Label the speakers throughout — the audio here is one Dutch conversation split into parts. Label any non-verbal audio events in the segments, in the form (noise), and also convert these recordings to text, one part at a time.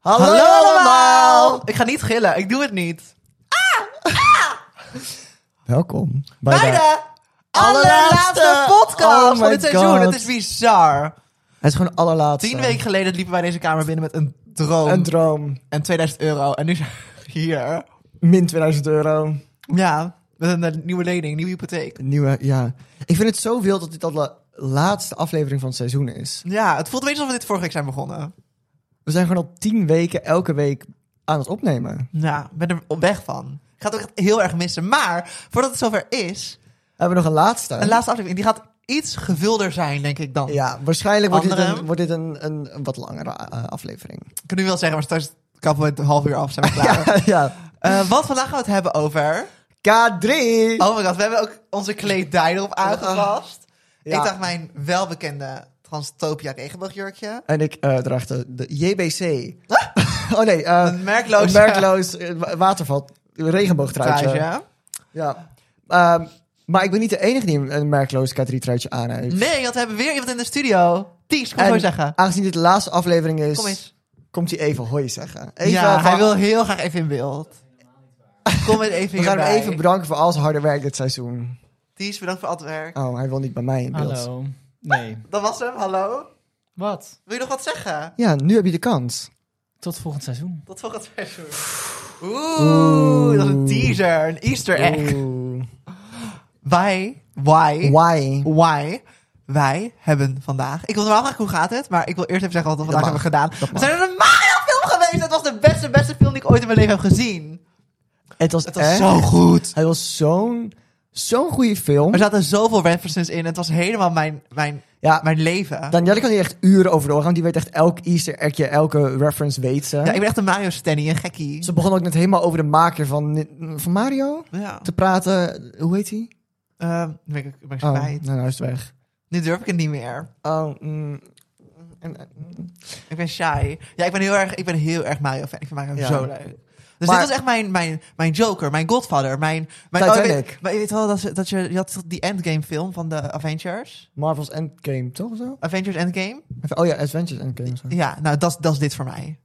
Speaker 1: Hallo,
Speaker 2: Hallo
Speaker 1: allemaal!
Speaker 2: allemaal!
Speaker 1: Ik ga niet gillen, ik doe het niet.
Speaker 2: Welkom bij
Speaker 1: Bij
Speaker 2: de...
Speaker 1: de allerlaatste
Speaker 2: allerlaatste-
Speaker 1: podcast
Speaker 2: Oh
Speaker 1: van
Speaker 2: my
Speaker 1: dit seizoen.
Speaker 2: God.
Speaker 1: Het is bizar.
Speaker 2: Het is gewoon allerlaatste.
Speaker 1: Tien weken geleden liepen wij deze kamer binnen met een droom.
Speaker 2: Een droom.
Speaker 1: en 2000 euro. En nu zijn we hier.
Speaker 2: Min 2000 euro.
Speaker 1: Ja, met een eh, nieuwe lening, nieuwe hypotheek.
Speaker 2: Een Nieuwe, ja. Ik vind het zo wild dat dit al de laatste aflevering van het seizoen is.
Speaker 1: Ja, het voelt een beetje alsof we dit vorige week zijn begonnen.
Speaker 2: We zijn gewoon al tien weken elke week aan het opnemen.
Speaker 1: Ja, ik ben er op weg van. Ik ga het ook echt heel erg missen. Maar voordat het zover is,
Speaker 2: Hebben we nog een laatste?
Speaker 1: een laatste aflevering. Die gaat iets gevulder zijn, denk ik dan.
Speaker 2: Ja, waarschijnlijk wordt dit,
Speaker 1: Andere?
Speaker 2: een, wordt dit een, een, een wat langere eh, aflevering. (laughs)
Speaker 1: Ik kan nu wel zeggen, maar straks kappen we het een half uur af. Zijn we klaar.
Speaker 2: ja.
Speaker 1: Eh, want vandaag gaan we het hebben over...
Speaker 2: K3!
Speaker 1: Oh my god, we hebben ook onze kledij erop aangepast.
Speaker 2: Ja.
Speaker 1: Ik dacht mijn welbekende Transtopia regenboogjurkje.
Speaker 2: En ik eh draag de, de JBC. (laughs) oh nee, eh,
Speaker 1: Een merkloos-
Speaker 2: een merkloos eh, wa- waterval. Regenboogtruitje.
Speaker 1: Truitje.
Speaker 2: Ja. Ehm, maar ik ben niet de enige die een merkloos K3-truitje aan heeft.
Speaker 1: Nee, want we hebben weer iemand in de studio. Ties, kom
Speaker 2: En
Speaker 1: zo zeggen.
Speaker 2: Aangezien dit de laatste aflevering is,
Speaker 1: Kom eens.
Speaker 2: komt hij even hoi zeggen. Even
Speaker 1: Ja,
Speaker 2: van-
Speaker 1: hij wil heel graag even in beeld. Kom eens (laughs) even
Speaker 2: we gaan hem
Speaker 1: hierbij.
Speaker 2: even bedanken voor al zijn harde werk dit seizoen.
Speaker 1: Ties, bedankt voor al het werk.
Speaker 2: Oh, hij wil niet bij mij in beeld.
Speaker 3: Hallo. Nee.
Speaker 1: Dat was hem, hallo.
Speaker 3: Wat?
Speaker 1: Wil je nog wat zeggen?
Speaker 2: Ja, nu heb je de kans.
Speaker 3: Tot volgend seizoen.
Speaker 1: Tot volgend seizoen. Oeh, dat is een teaser, een easter egg.
Speaker 2: Oeh.
Speaker 1: Wij, why,
Speaker 2: Why?
Speaker 1: why. Wij hebben vandaag. Ik wil normaal vragen hoe gaat het, maar ik wil eerst even zeggen wat we vandaag
Speaker 2: mag.
Speaker 1: hebben gedaan. We zijn naar de Mario film geweest. Dat was de beste, beste film die ik ooit in mijn leven heb gezien.
Speaker 2: Het was,
Speaker 1: Het was
Speaker 2: echt-
Speaker 1: zo goed.
Speaker 2: Hij was zo'n zo'n goede film.
Speaker 1: Er zaten zoveel references in. Het was helemaal mijn, mijn, ah,
Speaker 2: Ja,
Speaker 1: mijn leven.
Speaker 2: Danielle kan hier echt uren over doorgaan. want Die weet echt elk easter eggje, elke reference weet ze.
Speaker 1: Ja, ik ben echt een Mario Stanny, een gekkie.
Speaker 2: Ze begon ook net helemaal over de maker van, van Mario
Speaker 1: Ja.
Speaker 2: te praten. Hoe heet hij?
Speaker 1: Eh, ben ik, ben ik
Speaker 2: Oh,
Speaker 1: spijt.
Speaker 2: nou, nou is het weg.
Speaker 1: Nu durf ik het niet meer.
Speaker 2: Oh, mm, en- en-
Speaker 1: Ik ben shy. Ja, ik ben heel erg, ik ben heel erg Mario fan. Ik vind Mario
Speaker 2: Ja.
Speaker 1: zo leuk. Dus
Speaker 2: Maar-
Speaker 1: dit was echt mijn, mijn, mijn Joker, mijn Godfather, mijn... mijn
Speaker 2: Titanic.
Speaker 1: Oh, ik weet, maar je weet wel dat, ze- dat je, je had toch die Endgame film van de Avengers.
Speaker 2: Marvel's Endgame, toch? Zo?
Speaker 1: Avengers Endgame.
Speaker 2: Even- Oh ja, Adventures Endgame. Zo.
Speaker 1: Ja, nou, dat, is- dat is dit voor mij.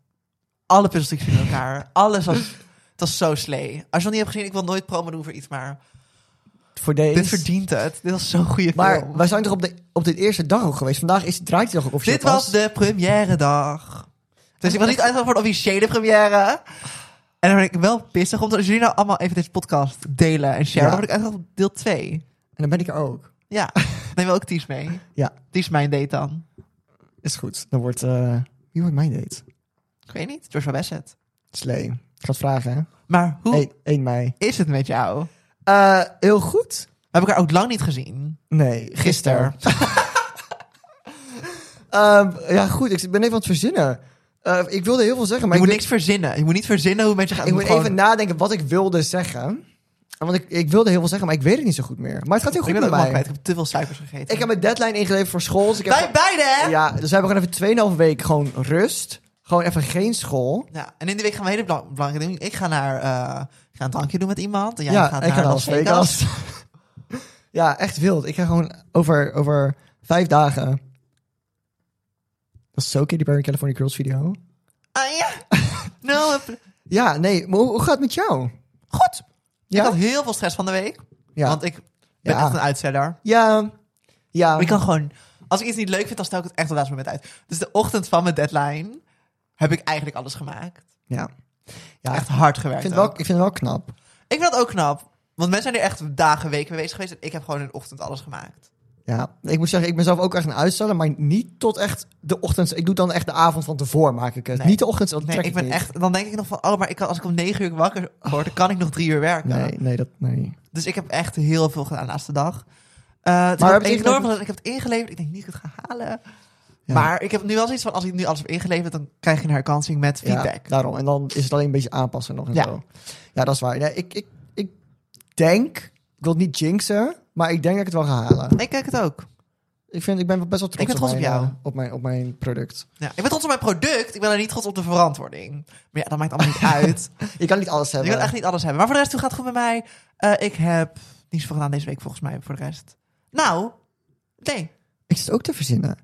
Speaker 1: Alle puzzelstukjes
Speaker 2: (laughs)
Speaker 1: in elkaar. Alles was... Het was zo slee. Als je het nog niet hebt gezien, ik wil nooit promo doen voor iets, maar...
Speaker 2: Voor deze.
Speaker 1: Dit verdient het. Dit was zo'n goede film.
Speaker 2: Maar wij zijn toch op, de, op dit eerste dag ook geweest? Vandaag is, draait hij toch ook officieel
Speaker 1: Dit was
Speaker 2: pas?
Speaker 1: de première dag. Dus ik was niet uitgenodigd voor de officiële première. En dan ben ik wel pissig, omdat als jullie nou allemaal even deze podcast delen en sharen,
Speaker 2: Ja.
Speaker 1: dan word ik uitgenodigd op deel 2.
Speaker 2: En dan ben ik er ook. (laughs)
Speaker 1: Ja, neem ook Ties mee.
Speaker 2: Ja.
Speaker 1: Ties mijn date dan.
Speaker 2: Is goed. Dan wordt... eh, wie wordt mijn date?
Speaker 1: Ik weet niet, Joshua Bassett.
Speaker 2: Slee. Ik ga het vragen, hè?
Speaker 1: Maar hoe
Speaker 2: 1, 1 mei.
Speaker 1: is het met jou? We
Speaker 2: Eh, heel goed.
Speaker 1: hebben elkaar ook lang niet gezien.
Speaker 2: Nee, gisteren.
Speaker 1: Gister.
Speaker 2: Ehm, ja, goed. Ik ben even aan het verzinnen. Eh, ik wilde heel veel zeggen, maar
Speaker 1: je
Speaker 2: ik,
Speaker 1: moet
Speaker 2: weet-
Speaker 1: niks verzinnen. Je moet niet verzinnen hoe mensen gaan.
Speaker 2: ik moet
Speaker 1: gewoon-
Speaker 2: even nadenken wat ik wilde zeggen. Want ik, ik wilde heel veel zeggen, maar ik weet het niet zo goed meer. Maar het gaat
Speaker 1: ik
Speaker 2: heel
Speaker 1: ben
Speaker 2: goed met
Speaker 1: ook allemaal
Speaker 2: mij.
Speaker 1: kwijt. Ik heb te veel suikers gegeten.
Speaker 2: Ik heb mijn deadline ingeleverd voor school. Dus ik heb
Speaker 1: Wij beide, hè? Ja.
Speaker 2: Ja, dus we hebben gewoon even 2,5 week gewoon rust. Gewoon even geen school.
Speaker 1: en in die week gaan we hele belang- belangrijke dingen. doen. Ik ga naar eh, ik ga een drankje doen met iemand. En jij
Speaker 2: ja,
Speaker 1: gaat
Speaker 2: ik
Speaker 1: naar
Speaker 2: ga naar
Speaker 1: Las Vegas.
Speaker 2: (laughs) ja, echt wild. Ik ga gewoon over, over vijf dagen. Dat is zo Katy Perry California Girls video.
Speaker 1: Ah ja. nou, heb-
Speaker 2: Ja, nee, maar hoe, hoe gaat het met jou?
Speaker 1: goed.
Speaker 2: Ja?
Speaker 1: Ik had heel veel stress van de week.
Speaker 2: Ja,
Speaker 1: Want ik ben
Speaker 2: Ja.
Speaker 1: echt een uitzetter.
Speaker 2: ja, ja.
Speaker 1: Maar ik kan gewoon... Als ik iets niet leuk vind, dan stel ik het echt op het laatste moment uit. Dus de ochtend van mijn deadline heb ik eigenlijk alles gemaakt.
Speaker 2: ja. ja.
Speaker 1: Echt hard
Speaker 2: Ik
Speaker 1: gewerkt
Speaker 2: vind, het wel,
Speaker 1: ook.
Speaker 2: ik vind het wel knap.
Speaker 1: Ik vind dat ook knap. Want mensen zijn er echt dagen, weken mee bezig geweest. En ik heb gewoon in de ochtend alles gemaakt.
Speaker 2: Ja, ik moet zeggen, ik ben zelf ook echt een uitsteller, maar niet tot echt de ochtend. Ik doe dan echt de avond van tevoren, maak ik het.
Speaker 1: Nee.
Speaker 2: Niet de ochtend, want
Speaker 1: Nee,
Speaker 2: trek
Speaker 1: ik ben
Speaker 2: niet.
Speaker 1: echt... Dan denk ik nog van... Oh, maar ik kan, als ik om negen uur wakker word, dan kan ik nog drie uur werken.
Speaker 2: Nee, nee, dat, nee.
Speaker 1: Dus ik heb echt heel veel gedaan de laatste dag. Eh het
Speaker 2: Maar
Speaker 1: maar
Speaker 2: heb
Speaker 1: ik,
Speaker 2: je het
Speaker 1: enorm,
Speaker 2: ingeleverd?
Speaker 1: veel- ik heb het ingeleverd. Ik denk niet dat ik het ga halen.
Speaker 2: Ja.
Speaker 1: Maar ik heb nu wel zoiets van, als ik nu alles heb ingeleverd, dan krijg je een herkansing met feedback.
Speaker 2: Ja, daarom. En dan is het alleen een beetje aanpassen nog en
Speaker 1: Ja.
Speaker 2: zo. Ja, dat is waar. Nee, ik, ik, ik denk, ik wil het niet jinxen, maar ik denk dat ik het wel ga halen.
Speaker 1: Ik kijk het ook.
Speaker 2: Ik, vind, ik ben wel best wel trots,
Speaker 1: ben trots op
Speaker 2: mijn,
Speaker 1: jou.
Speaker 2: eh, op, mijn, op mijn product.
Speaker 1: Ja. Ik ben trots op mijn product. Ik ben er niet trots op de verantwoording. Maar ja, dat maakt
Speaker 2: (laughs)
Speaker 1: allemaal niet uit.
Speaker 2: Je kan niet alles
Speaker 1: Je
Speaker 2: hebben.
Speaker 1: wil echt niet alles hebben. Maar voor de rest, hoe gaat het goed met mij? Eh, ik heb niet zoveel gedaan deze week, volgens mij, voor de rest. Nou, nee.
Speaker 2: Ik zit ook te verzinnen.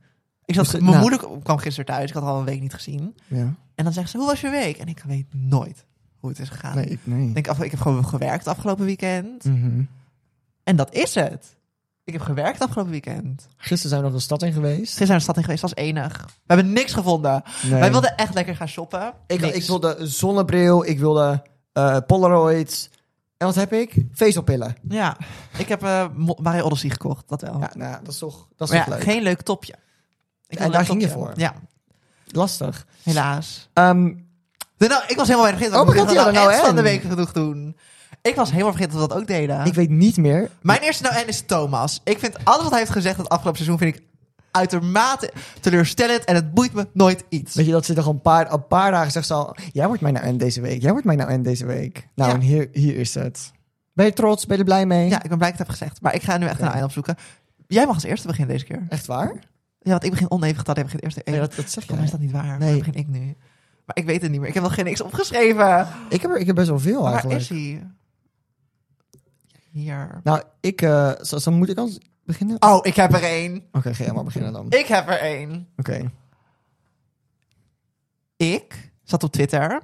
Speaker 1: Ik zat,
Speaker 2: Dus, eh,
Speaker 1: mijn
Speaker 2: nou.
Speaker 1: moeder kwam gisteren thuis. Ik had haar al een week niet gezien.
Speaker 2: Ja.
Speaker 1: En En dan zegt ze, hoe was je week? En ik weet nooit hoe het is gegaan.
Speaker 2: Nee, ik, nee.
Speaker 1: Ik denk, af, ik heb gewoon gewerkt afgelopen weekend.
Speaker 2: Mhm.
Speaker 1: En dat is het. Ik heb gewerkt afgelopen weekend.
Speaker 2: Gisteren zijn we nog de stad in geweest.
Speaker 1: Gisteren zijn we de stad in geweest, dat was enig. We hebben niks gevonden.
Speaker 2: Nee.
Speaker 1: Wij wilden echt lekker gaan shoppen.
Speaker 2: ik,
Speaker 1: Niks.
Speaker 2: ik wilde een zonnebril, ik wilde eh Polaroids. En wat heb ik? Vezelpillen.
Speaker 1: Ja, ik heb eh, Mo- Mario Odyssey gekocht, dat wel.
Speaker 2: Ja, nou, dat is toch, dat is
Speaker 1: maar
Speaker 2: toch
Speaker 1: ja,
Speaker 2: leuk.
Speaker 1: geen leuk topje. Ik
Speaker 2: En
Speaker 1: wil een
Speaker 2: daar
Speaker 1: leuk
Speaker 2: ging je
Speaker 1: topje.
Speaker 2: voor.
Speaker 1: Ja,
Speaker 2: Lastig.
Speaker 1: helaas.
Speaker 2: Ehm,
Speaker 1: Nee, nou, ik was helemaal bij vergeten.
Speaker 2: Oh my
Speaker 1: we
Speaker 2: god, die
Speaker 1: moesten
Speaker 2: hadden nou
Speaker 1: echt van de
Speaker 2: en.
Speaker 1: week genoeg doen. Ik was helemaal vergeten dat we dat ook deden.
Speaker 2: Ik weet niet meer.
Speaker 1: Mijn eerste nou en is Thomas. Ik vind alles wat hij heeft gezegd het afgelopen seizoen vind ik uitermate teleurstellend en het boeit me nooit iets.
Speaker 2: Weet je, dat ze er gewoon een paar, een paar dagen zegt ze al... Jij wordt mijn nou en deze week. Jij wordt mijn nou en deze week. Nou,
Speaker 1: Ja.
Speaker 2: en hier, hier is het. Ben je trots? Ben je er blij mee?
Speaker 1: Ja, ik ben blij dat ik het heb gezegd, maar ik ga nu echt
Speaker 2: Oké.
Speaker 1: een ei opzoeken. Jij mag als eerste beginnen deze keer.
Speaker 2: Echt waar?
Speaker 1: Ja, want ik begin oneven geteld, jij begint eerst even.
Speaker 2: Nee, dat, dat zeg
Speaker 1: Volgens mij
Speaker 2: jij.
Speaker 1: is dat niet waar.
Speaker 2: Nee.
Speaker 1: Nee. begin ik nu. Maar ik weet het niet meer. Ik heb nog geen niks opgeschreven.
Speaker 2: Ik heb, er, ik heb best wel veel
Speaker 1: Waar
Speaker 2: eigenlijk.
Speaker 1: is hij? Hier.
Speaker 2: Nou, ik... eh, zo, zo moet ik al beginnen? Oké,
Speaker 1: Oh, ik heb er één.
Speaker 2: ga jij maar beginnen dan. Oké.
Speaker 1: Ik heb er één. Ik zat op Twitter.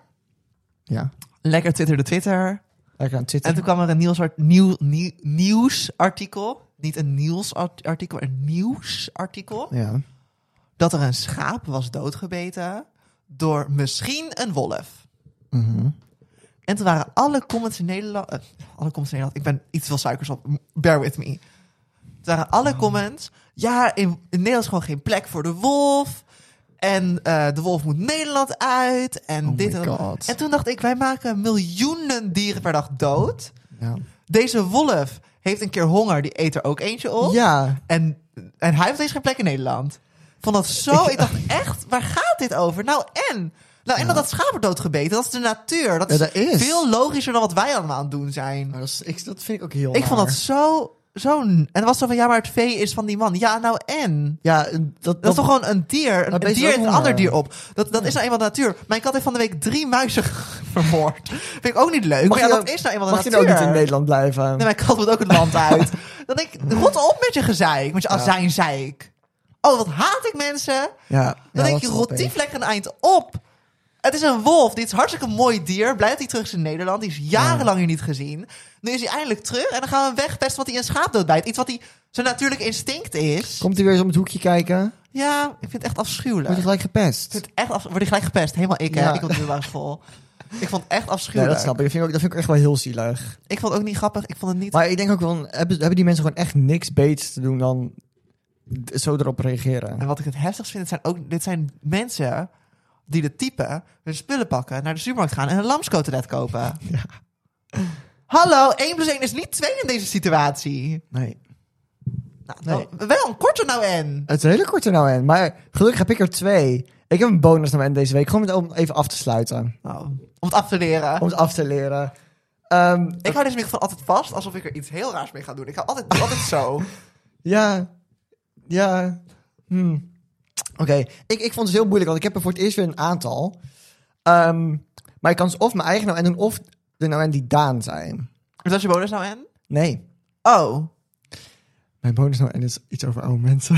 Speaker 2: Ja.
Speaker 1: Lekker Twitter de Twitter.
Speaker 2: Lekker aan Twitter.
Speaker 1: En toen kwam er een nieuws, nieuw, nieuw, nieuwsartikel. Niet een nieuwsartikel, een nieuwsartikel.
Speaker 2: Ja.
Speaker 1: Dat er een schaap was doodgebeten door misschien een wolf.
Speaker 2: Mhm.
Speaker 1: En toen waren alle comments in Nederland... eh, alle comments in Nederland. Ik ben iets te veel suikers op. Bear with me. Toen waren alle
Speaker 2: Oh.
Speaker 1: comments... Ja, in, in Nederland is gewoon geen plek voor de wolf. En eh, de wolf moet Nederland uit. En
Speaker 2: Oh
Speaker 1: dit
Speaker 2: my
Speaker 1: en dat.
Speaker 2: God.
Speaker 1: En toen dacht ik, wij maken miljoenen dieren per dag dood.
Speaker 2: Ja.
Speaker 1: Deze wolf heeft een keer honger. Die eet er ook eentje op.
Speaker 2: ja.
Speaker 1: En, en hij heeft deze geen plek in Nederland. Vond dat zo. Ik dacht echt, waar gaat dit over? Nou en? Nou, en dat dat schaap wordt doodgebeten, dat is de natuur. Dat
Speaker 2: Ja,
Speaker 1: is,
Speaker 2: dat is.
Speaker 1: veel logischer dan wat wij allemaal aan het doen zijn.
Speaker 2: Maar dat, is, ik, dat vind ik ook heel
Speaker 1: ik vond
Speaker 2: naar.
Speaker 1: dat zo... zo en het was zo van, ja, maar het vee is van die man. Ja, nou en?
Speaker 2: Ja, en dat,
Speaker 1: Dat is
Speaker 2: dat,
Speaker 1: toch gewoon een dier?
Speaker 2: dat
Speaker 1: Een
Speaker 2: beest
Speaker 1: dier
Speaker 2: ook
Speaker 1: en een
Speaker 2: honger.
Speaker 1: ander dier op. Dat, dat is nou eenmaal de natuur. Mijn kat heeft van de week drie muizen (laughs) vermoord. Vind ik ook niet leuk. Maar ja, dat is nou eenmaal de
Speaker 2: Mag je
Speaker 1: natuur.
Speaker 2: nou niet in Nederland blijven?
Speaker 1: Nee, mijn kat moet ook het land
Speaker 2: (laughs)
Speaker 1: uit. Dan denk ik, rot op met je gezeik, met je azijnzeik. Oh, wat haat ik mensen.
Speaker 2: Ja.
Speaker 1: Dan
Speaker 2: ja,
Speaker 1: denk je,
Speaker 2: wat
Speaker 1: rot
Speaker 2: grappig.
Speaker 1: die vlek een eind op. Het is een wolf, dit is hartstikke een mooi dier. Blij dat hij terug is in Nederland, die is jarenlang hier niet gezien. Nu is hij eindelijk terug en dan gaan we hem wegpesten wat hij een schaap doodbijt. Iets wat hij zijn natuurlijke instinct is.
Speaker 2: Komt hij weer eens om het hoekje kijken?
Speaker 1: Ja, ik vind het echt
Speaker 2: Wordt hij
Speaker 1: afschuwelijk.
Speaker 2: gelijk gepest?
Speaker 1: Ik vind het echt af... Word ik gelijk gepest? Helemaal ik, hè?
Speaker 2: Ja.
Speaker 1: Ik op de middelbare school. Ik vond het echt
Speaker 2: Ja,
Speaker 1: afschuwelijk.
Speaker 2: dat snap ik. Dat vind ik, ook, dat vind ik echt wel heel zielig.
Speaker 1: Ik vond het ook niet grappig. Ik vond het niet...
Speaker 2: Maar ik denk ook wel, hebben, hebben die mensen gewoon echt niks beters te doen dan d- zo erop reageren?
Speaker 1: En wat ik het heftigst vind, het zijn ook, dit zijn mensen die de type hun spullen pakken, naar de supermarkt gaan en een lamscotelet (laughs) kopen. Hallo, 1 plus 1 is niet 2 in deze situatie.
Speaker 2: Nee.
Speaker 1: Nou,
Speaker 2: Nee.
Speaker 1: wel- Wel, een korte nou en.
Speaker 2: Het is een hele korte nou en, maar gelukkig heb ik er twee. Ik heb een bonus nou en deze week, gewoon met- om even af te sluiten.
Speaker 1: Nou, om het af te leren.
Speaker 2: Om het af te leren. Ehm,
Speaker 1: Ik hou dus deze microfoon altijd vast, alsof ik er iets heel raars mee ga doen. Ik hou altijd, doe altijd (laughs) zo.
Speaker 2: Ja, ja. Hm. Oké, ik, ik vond het heel moeilijk, want ik heb er voor het eerst weer een aantal. Ehm, maar ik kan dus of mijn eigen nou en doen, of de nou en die Daan zijn.
Speaker 1: Is dat je bonus nou en?
Speaker 2: Nee,
Speaker 1: Oh.
Speaker 2: mijn bonus nou en is iets over oude mensen.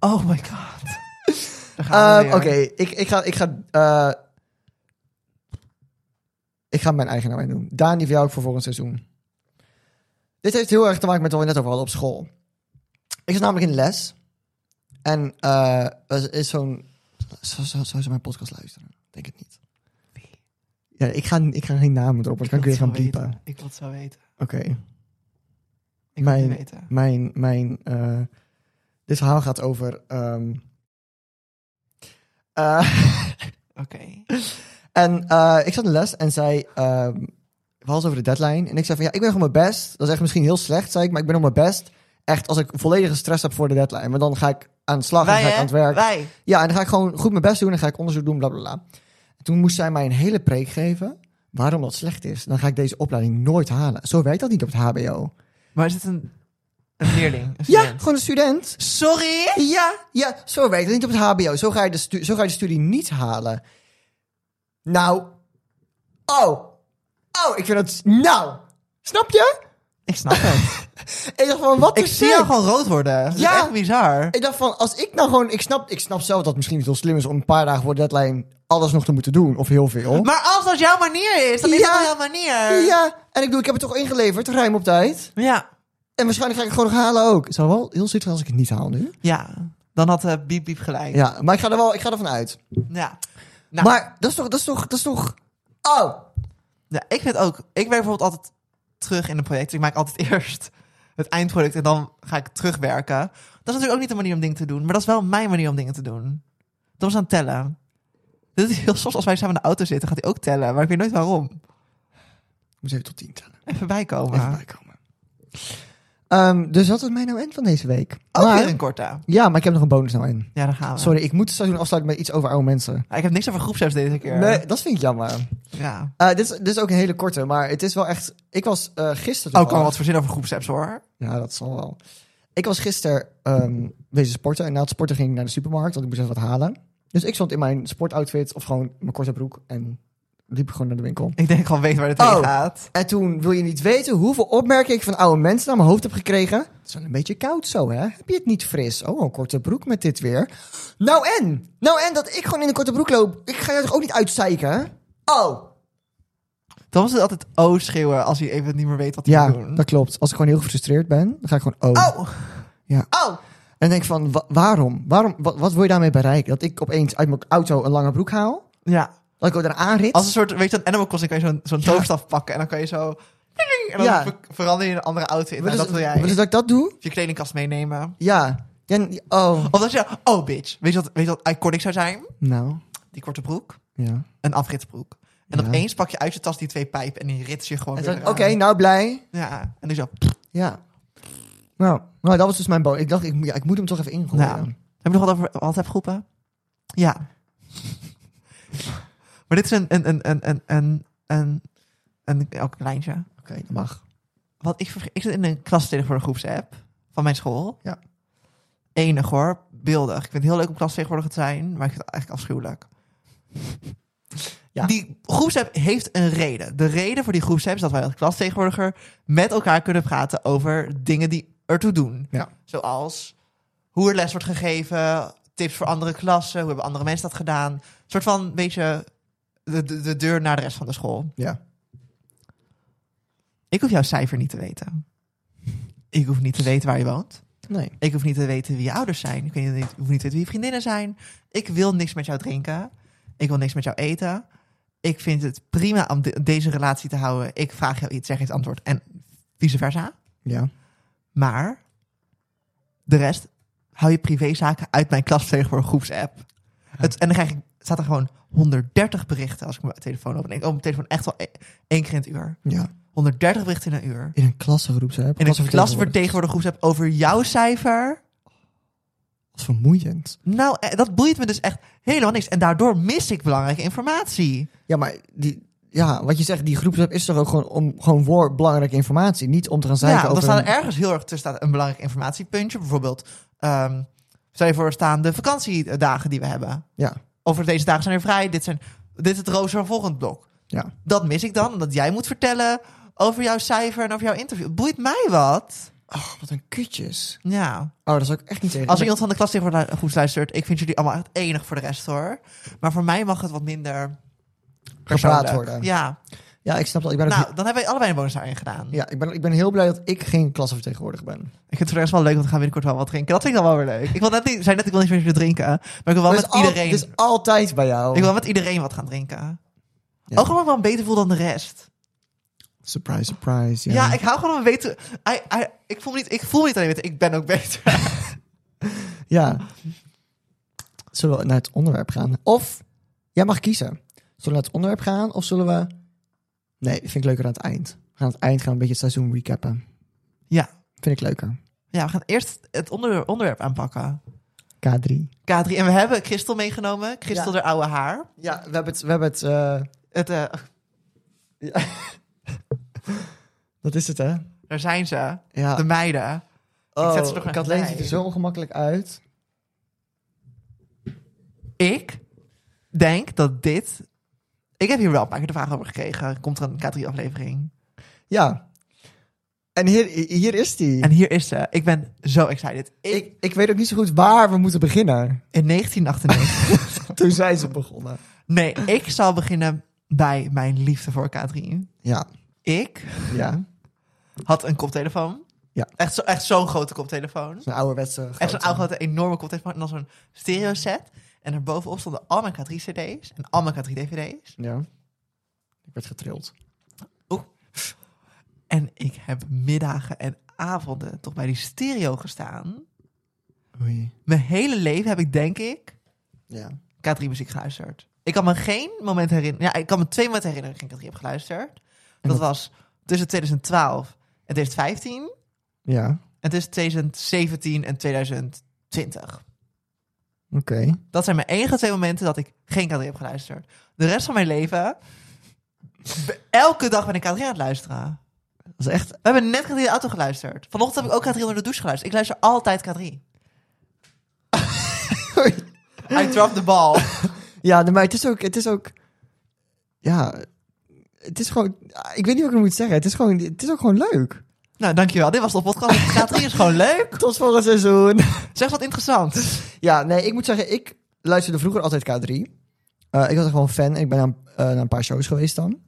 Speaker 1: Oh my god. (laughs) Daar gaan we
Speaker 2: Ehm, Oké,
Speaker 1: weer.
Speaker 2: ik, ik ga, ik ga, eh, ik ga mijn eigen nou en doen. Daan, die voor jou ook voor volgend seizoen. Dit heeft heel erg te maken met wat we net over hadden op school. Ik zat namelijk in de les. En eh, er is zo'n... Zou zo, zo ze mijn podcast luisteren? Ik Denk het niet. Ja, ik ga, ik ga geen namen erop, want dan kan ik
Speaker 1: wil
Speaker 2: weer
Speaker 1: het
Speaker 2: gaan
Speaker 1: zo weten.
Speaker 2: piepen.
Speaker 1: Ik wil het zo weten.
Speaker 2: Oké.
Speaker 1: Ik wil het
Speaker 2: Mijn-
Speaker 1: weten.
Speaker 2: Mijn, mijn, eh, dit verhaal gaat over... ehm, eh, (laughs)
Speaker 1: Oké.
Speaker 2: En eh, ik zat in les en zij... ehm we hadden het over de deadline. En ik zei van, ja, ik ben nog op mijn best. Dat is echt misschien heel slecht, zei ik. Maar ik ben op mijn best. Echt, als ik volledige stress heb voor de deadline. Maar dan ga ik aan de slag en
Speaker 1: Wij,
Speaker 2: ga ik
Speaker 1: hè?
Speaker 2: aan het werk.
Speaker 1: Wij.
Speaker 2: Ja, en dan ga ik gewoon goed mijn best doen. En ga ik onderzoek doen, bla, bla, bla. En Toen moest zij mij een hele preek geven. Waarom dat slecht is. Dan ga ik deze opleiding nooit halen. Zo werkt dat niet op het hbo.
Speaker 1: Maar is het een, een leerling? Een
Speaker 2: Ja,
Speaker 1: student?
Speaker 2: gewoon een student.
Speaker 1: Sorry?
Speaker 2: Ja, ja, zo werkt het niet op het HBO. Zo ga je de, stu- zo ga je de studie niet halen. Nou. Oh. Oh, ik vind het. Nou. Snap je?
Speaker 1: Ik snap (laughs) het.
Speaker 2: Ik dacht van, wat
Speaker 1: ik
Speaker 2: is
Speaker 1: zie
Speaker 2: dit?
Speaker 1: jou gewoon rood worden. Dat
Speaker 2: Ja.
Speaker 1: is echt bizar.
Speaker 2: Ik dacht van, als ik nou gewoon. Ik snap, ik snap zelf dat het misschien niet heel slim is om een paar dagen voor de deadline alles nog te moeten doen. Of heel veel.
Speaker 1: Maar als dat jouw manier is, dan is
Speaker 2: Ja.
Speaker 1: dat jouw manier.
Speaker 2: Ja, en ik bedoel, ik heb het toch ingeleverd, ruim op tijd.
Speaker 1: Ja.
Speaker 2: En waarschijnlijk ga ik het gewoon nog halen ook. Het zou wel heel zitten als ik het niet haal nu.
Speaker 1: Ja. Dan had eh Biep Biep gelijk. Ja.
Speaker 2: Ja, maar ik ga er wel ik ga ervan uit.
Speaker 1: Nou.
Speaker 2: Maar dat is toch, dat is toch, dat is toch... Oh!
Speaker 1: Ja, ik vind ook. Ik werk bijvoorbeeld altijd terug in een project. Ik maak altijd (laughs) eerst het eindproduct en dan ga ik terugwerken. Dat is natuurlijk ook niet de manier om dingen te doen, maar dat is wel mijn manier om dingen te doen. Dat was aan het tellen. Dit is heel soms als wij samen in de auto zitten, gaat hij ook tellen, maar ik weet nooit waarom.
Speaker 2: Ik moet even tot tien tellen.
Speaker 1: Even bijkomen.
Speaker 2: Even bijkomen. Ehm, dus dat is mijn nou in van deze week.
Speaker 1: Ook
Speaker 2: Maar-
Speaker 1: weer een korte.
Speaker 2: ja, maar ik heb nog een bonus nou in.
Speaker 1: Ja, daar gaan we.
Speaker 2: Sorry, ik moet het seizoen afsluiten met iets over oude mensen.
Speaker 1: Ik heb niks over groepsapps deze keer.
Speaker 2: Nee, dat vind ik jammer.
Speaker 1: Ja.
Speaker 2: Eh, dit, is, dit is ook een hele korte, maar het is wel echt... Ik was eh gisteren...
Speaker 1: Ook al
Speaker 2: toevallig-
Speaker 1: wat verzin over groepsapps hoor.
Speaker 2: Ja, dat zal wel. Ik was gisteren ehm bezig sporten. En na het sporten ging ik naar de supermarkt, want ik moest even wat halen. Dus ik stond in mijn sportoutfit of gewoon mijn korte broek en liep gewoon naar de winkel.
Speaker 1: Ik denk ik gewoon weet waar het heen
Speaker 2: Oh.
Speaker 1: gaat.
Speaker 2: En toen wil je niet weten hoeveel opmerkingen ik van oude mensen naar mijn hoofd heb gekregen. Het is wel een beetje koud zo, hè? Heb je het niet fris? Oh, een korte broek met dit weer. Nou en? Nou en dat ik gewoon in een korte broek loop. Ik ga jou toch ook niet uitzeiken, hè? Oh!
Speaker 1: Dan was het altijd O schreeuwen als hij even niet meer weet wat hij
Speaker 2: Ja,
Speaker 1: moet doen.
Speaker 2: dat klopt. Als ik gewoon heel gefrustreerd ben, dan ga ik gewoon oh.
Speaker 1: Oh!
Speaker 2: Ja.
Speaker 1: Oh!
Speaker 2: En denk van, wa- waarom? waarom wat, wat wil je daarmee bereiken? Dat ik opeens uit mijn auto een lange broek haal?
Speaker 1: Ja.
Speaker 2: Dat ik ook daarna aanrit?
Speaker 1: Als een soort, weet je, een animal crossing kan je zo'n zo'n toverstaf pakken en dan kan je zo. En dan
Speaker 2: Ja.
Speaker 1: ver- verander je in een andere outfit.
Speaker 2: dus,
Speaker 1: Nou, dat wil jij.
Speaker 2: dus dat ik dat doe?
Speaker 1: je kledingkast meenemen.
Speaker 2: Ja. ja n- oh.
Speaker 1: Of dat je, oh bitch, weet je wat, weet je wat iconic zou zijn?
Speaker 2: Nou,
Speaker 1: Die korte broek,
Speaker 2: ja.
Speaker 1: een afritsbroek. En
Speaker 2: Ja.
Speaker 1: opeens pak je uit je tas die twee pijpen en die rits je gewoon
Speaker 2: En
Speaker 1: weer
Speaker 2: dan- Oké,
Speaker 1: eraan.
Speaker 2: nou blij.
Speaker 1: Ja, en dan zo.
Speaker 2: Ja. Nou, nou, dat was dus mijn boot. Ik dacht, ik, moet- ja, ik moet hem toch even ingooien.
Speaker 1: Nou. Heb je nog wat over WhatsApp-groepen? Ja. maar dit is een, een, een, een, een, een, een, een, ook een lijntje.
Speaker 2: Oké, dat mag.
Speaker 1: Wat ik, verge- ik zit in een klasvertegenwoordiger voor een groepsapp van mijn school.
Speaker 2: Ja.
Speaker 1: Enig hoor, beeldig. Ik vind het heel leuk om klasvertegenwoordiger te zijn, maar ik vind het eigenlijk afschuwelijk.
Speaker 2: Ja.
Speaker 1: Die groepsapp heeft een reden. De reden voor die groepsapp is dat wij als klasvertegenwoordiger met elkaar kunnen praten over dingen die ertoe doen.
Speaker 2: Ja.
Speaker 1: Zoals hoe er les wordt gegeven, tips voor andere klassen, hoe hebben andere mensen dat gedaan. Een soort van, beetje de, de, de deur naar de rest van de school.
Speaker 2: Ja.
Speaker 1: Ik hoef jouw cijfer niet te weten. Ik hoef niet te weten waar je woont.
Speaker 2: Nee.
Speaker 1: Ik hoef niet te weten wie je ouders zijn. Ik weet niet, ik hoef niet te weten wie je vriendinnen zijn. Ik wil niks met jou drinken. Ik wil niks met jou eten. Ik vind het prima om de- deze relatie te houden. Ik vraag jou iets, zeg eens antwoord en vice versa.
Speaker 2: Ja.
Speaker 1: Maar de rest hou je privézaken uit mijn klas tegen voor een groepsapp. Het, en dan krijg ik, staat er gewoon 130 berichten als ik mijn telefoon open. Ik open mijn telefoon echt wel e- één keer in het uur.
Speaker 2: Ja.
Speaker 1: 130 berichten in een uur.
Speaker 2: In een klassengroep, hè?
Speaker 1: In een klasvertegenwoordiger groepsapp over jouw cijfer.
Speaker 2: Wat vermoeiend.
Speaker 1: Nou, eh, dat boeit me dus echt helemaal niks. En daardoor mis ik belangrijke informatie.
Speaker 2: Ja, maar die... Ja, wat je zegt, die groep is toch ook gewoon, om, gewoon voor belangrijke informatie. Niet om te gaan zeiken
Speaker 1: ja, dan
Speaker 2: over...
Speaker 1: staat
Speaker 2: een-
Speaker 1: er ergens heel erg tussen staat een belangrijk informatiepuntje. Bijvoorbeeld, ehm stel je voor, er staan de vakantiedagen die we hebben.
Speaker 2: Ja,
Speaker 1: Over deze dagen zijn er vrij. Dit, zijn, dit is het rooster van volgend blok.
Speaker 2: ja.
Speaker 1: Dat mis ik dan, omdat jij moet vertellen over jouw cijfer en over jouw interview. Het Boeit mij wat.
Speaker 2: Ach, Oh, wat een kutjes.
Speaker 1: Ja.
Speaker 2: Oh, dat zou ik echt niet tegen.
Speaker 1: Als
Speaker 2: Ik ben-
Speaker 1: iemand van de klas tegenwoordig goed luistert, ik vind jullie allemaal echt enig voor de rest hoor. Maar voor mij mag het wat minder persoonlijk.
Speaker 2: worden.
Speaker 1: Ja.
Speaker 2: Ja, ik snap dat. Ik ben, ook
Speaker 1: Nou, dan hebben wij allebei een bonusdagen gedaan.
Speaker 2: he- ja, ik, ben, ik ben heel blij dat ik geen klasvertegenwoordiger ben.
Speaker 1: Ik vind het voor de rest wel leuk, want we gaan binnenkort wel wat drinken. Dat vind ik dan wel weer leuk. Ik wil net niet, zei net, ik wil niet meer zo drinken. Maar ik wil wel
Speaker 2: Dat
Speaker 1: met
Speaker 2: is Dus al-
Speaker 1: iedereen.
Speaker 2: dat is altijd bij jou.
Speaker 1: Ik wil met iedereen wat gaan drinken.
Speaker 2: Ja.
Speaker 1: Ook omdat ik wel beter voel dan de rest.
Speaker 2: Surprise, surprise.
Speaker 1: Ja, ik hou gewoon van beter. I- I- ik, voel me niet, ik voel me niet alleen beter, ik ben ook beter. (laughs)
Speaker 2: Ja. Zullen we naar het onderwerp gaan? Of, jij mag kiezen. Zullen we naar het onderwerp gaan of zullen we... Nee, vind ik leuker aan het eind. We gaan aan het eind gaan we een beetje het seizoen recappen.
Speaker 1: Ja.
Speaker 2: Vind ik leuker.
Speaker 1: Ja, we gaan eerst het onder- onderwerp aanpakken.
Speaker 2: K3.
Speaker 1: K3. En we hebben Christel meegenomen. Christel,
Speaker 2: Ja.
Speaker 1: de oude haar.
Speaker 2: Ja, we hebben het... We hebben het eh, (laughs)
Speaker 1: Het, eh,
Speaker 2: dat is het, hè?
Speaker 1: daar zijn ze.
Speaker 2: Ja.
Speaker 1: De meiden.
Speaker 2: oh,
Speaker 1: zet ze er nog
Speaker 2: Kathleen
Speaker 1: even
Speaker 2: ziet er
Speaker 1: bij.
Speaker 2: zo ongemakkelijk uit.
Speaker 1: Ik denk dat dit... Ik heb hier wel een paar keer de vraag over gekregen. Komt er een K3-aflevering?
Speaker 2: Ja. En hier, hier is die.
Speaker 1: En hier is ze. Ik ben zo excited. Ik,
Speaker 2: (laughs) Ik, ik weet ook niet zo goed waar we moeten beginnen. (laughs)
Speaker 1: in 1998.
Speaker 2: Toen zijn ze begonnen.
Speaker 1: Nee, ik zou beginnen bij mijn liefde voor K3.
Speaker 2: Ja,
Speaker 1: Ik
Speaker 2: ja.
Speaker 1: had een koptelefoon.
Speaker 2: Ja.
Speaker 1: Echt zo'n echt zo'n grote koptelefoon.
Speaker 2: Zo'n ouderwetse grote.
Speaker 1: Echt zo'n oude grote, enorme koptelefoon. En dan zo'n stereo set. En daarbovenop stonden al mijn K3-cd's en al mijn K3-dvd's.
Speaker 2: Ja. Ik werd getrild.
Speaker 1: En ik heb middagen en avonden toch bij die stereo gestaan.
Speaker 2: Oei.
Speaker 1: Mijn hele leven heb ik, denk ik,
Speaker 2: Ja.
Speaker 1: K3-muziek geluisterd. Ik kan me geen moment herinneren. Ja, ik kan me twee momenten herinneren dat ik K3 heb geluisterd. Dat
Speaker 2: wat-
Speaker 1: was tussen 2012 en 2015.
Speaker 2: Ja.
Speaker 1: En tussen 2017 en 2020.
Speaker 2: Oké.
Speaker 1: Dat zijn mijn enige twee momenten dat ik geen K3 heb geluisterd. De rest van mijn leven, be- elke dag ben ik K3 aan het luisteren.
Speaker 2: Dat is echt...
Speaker 1: We hebben net K3 in de auto geluisterd. Vanochtend heb ik ook K3 onder de douche geluisterd. Ik luister altijd K3.
Speaker 2: (laughs)
Speaker 1: I dropped the ball.
Speaker 2: ja, nee, maar het is ook... Het is ook... Ja... Het is gewoon... Ik weet niet wat ik moet zeggen. Het is, gewoon, het is ook gewoon leuk.
Speaker 1: nou, dankjewel. Dit was de podcast. K3 is gewoon leuk.
Speaker 2: Tot volgend seizoen.
Speaker 1: Zeg wat interessant.
Speaker 2: Ja, nee, ik moet zeggen, ik luisterde vroeger altijd K3. Eh, ik was echt wel een fan. Ik ben naar, eh, naar een paar shows geweest dan.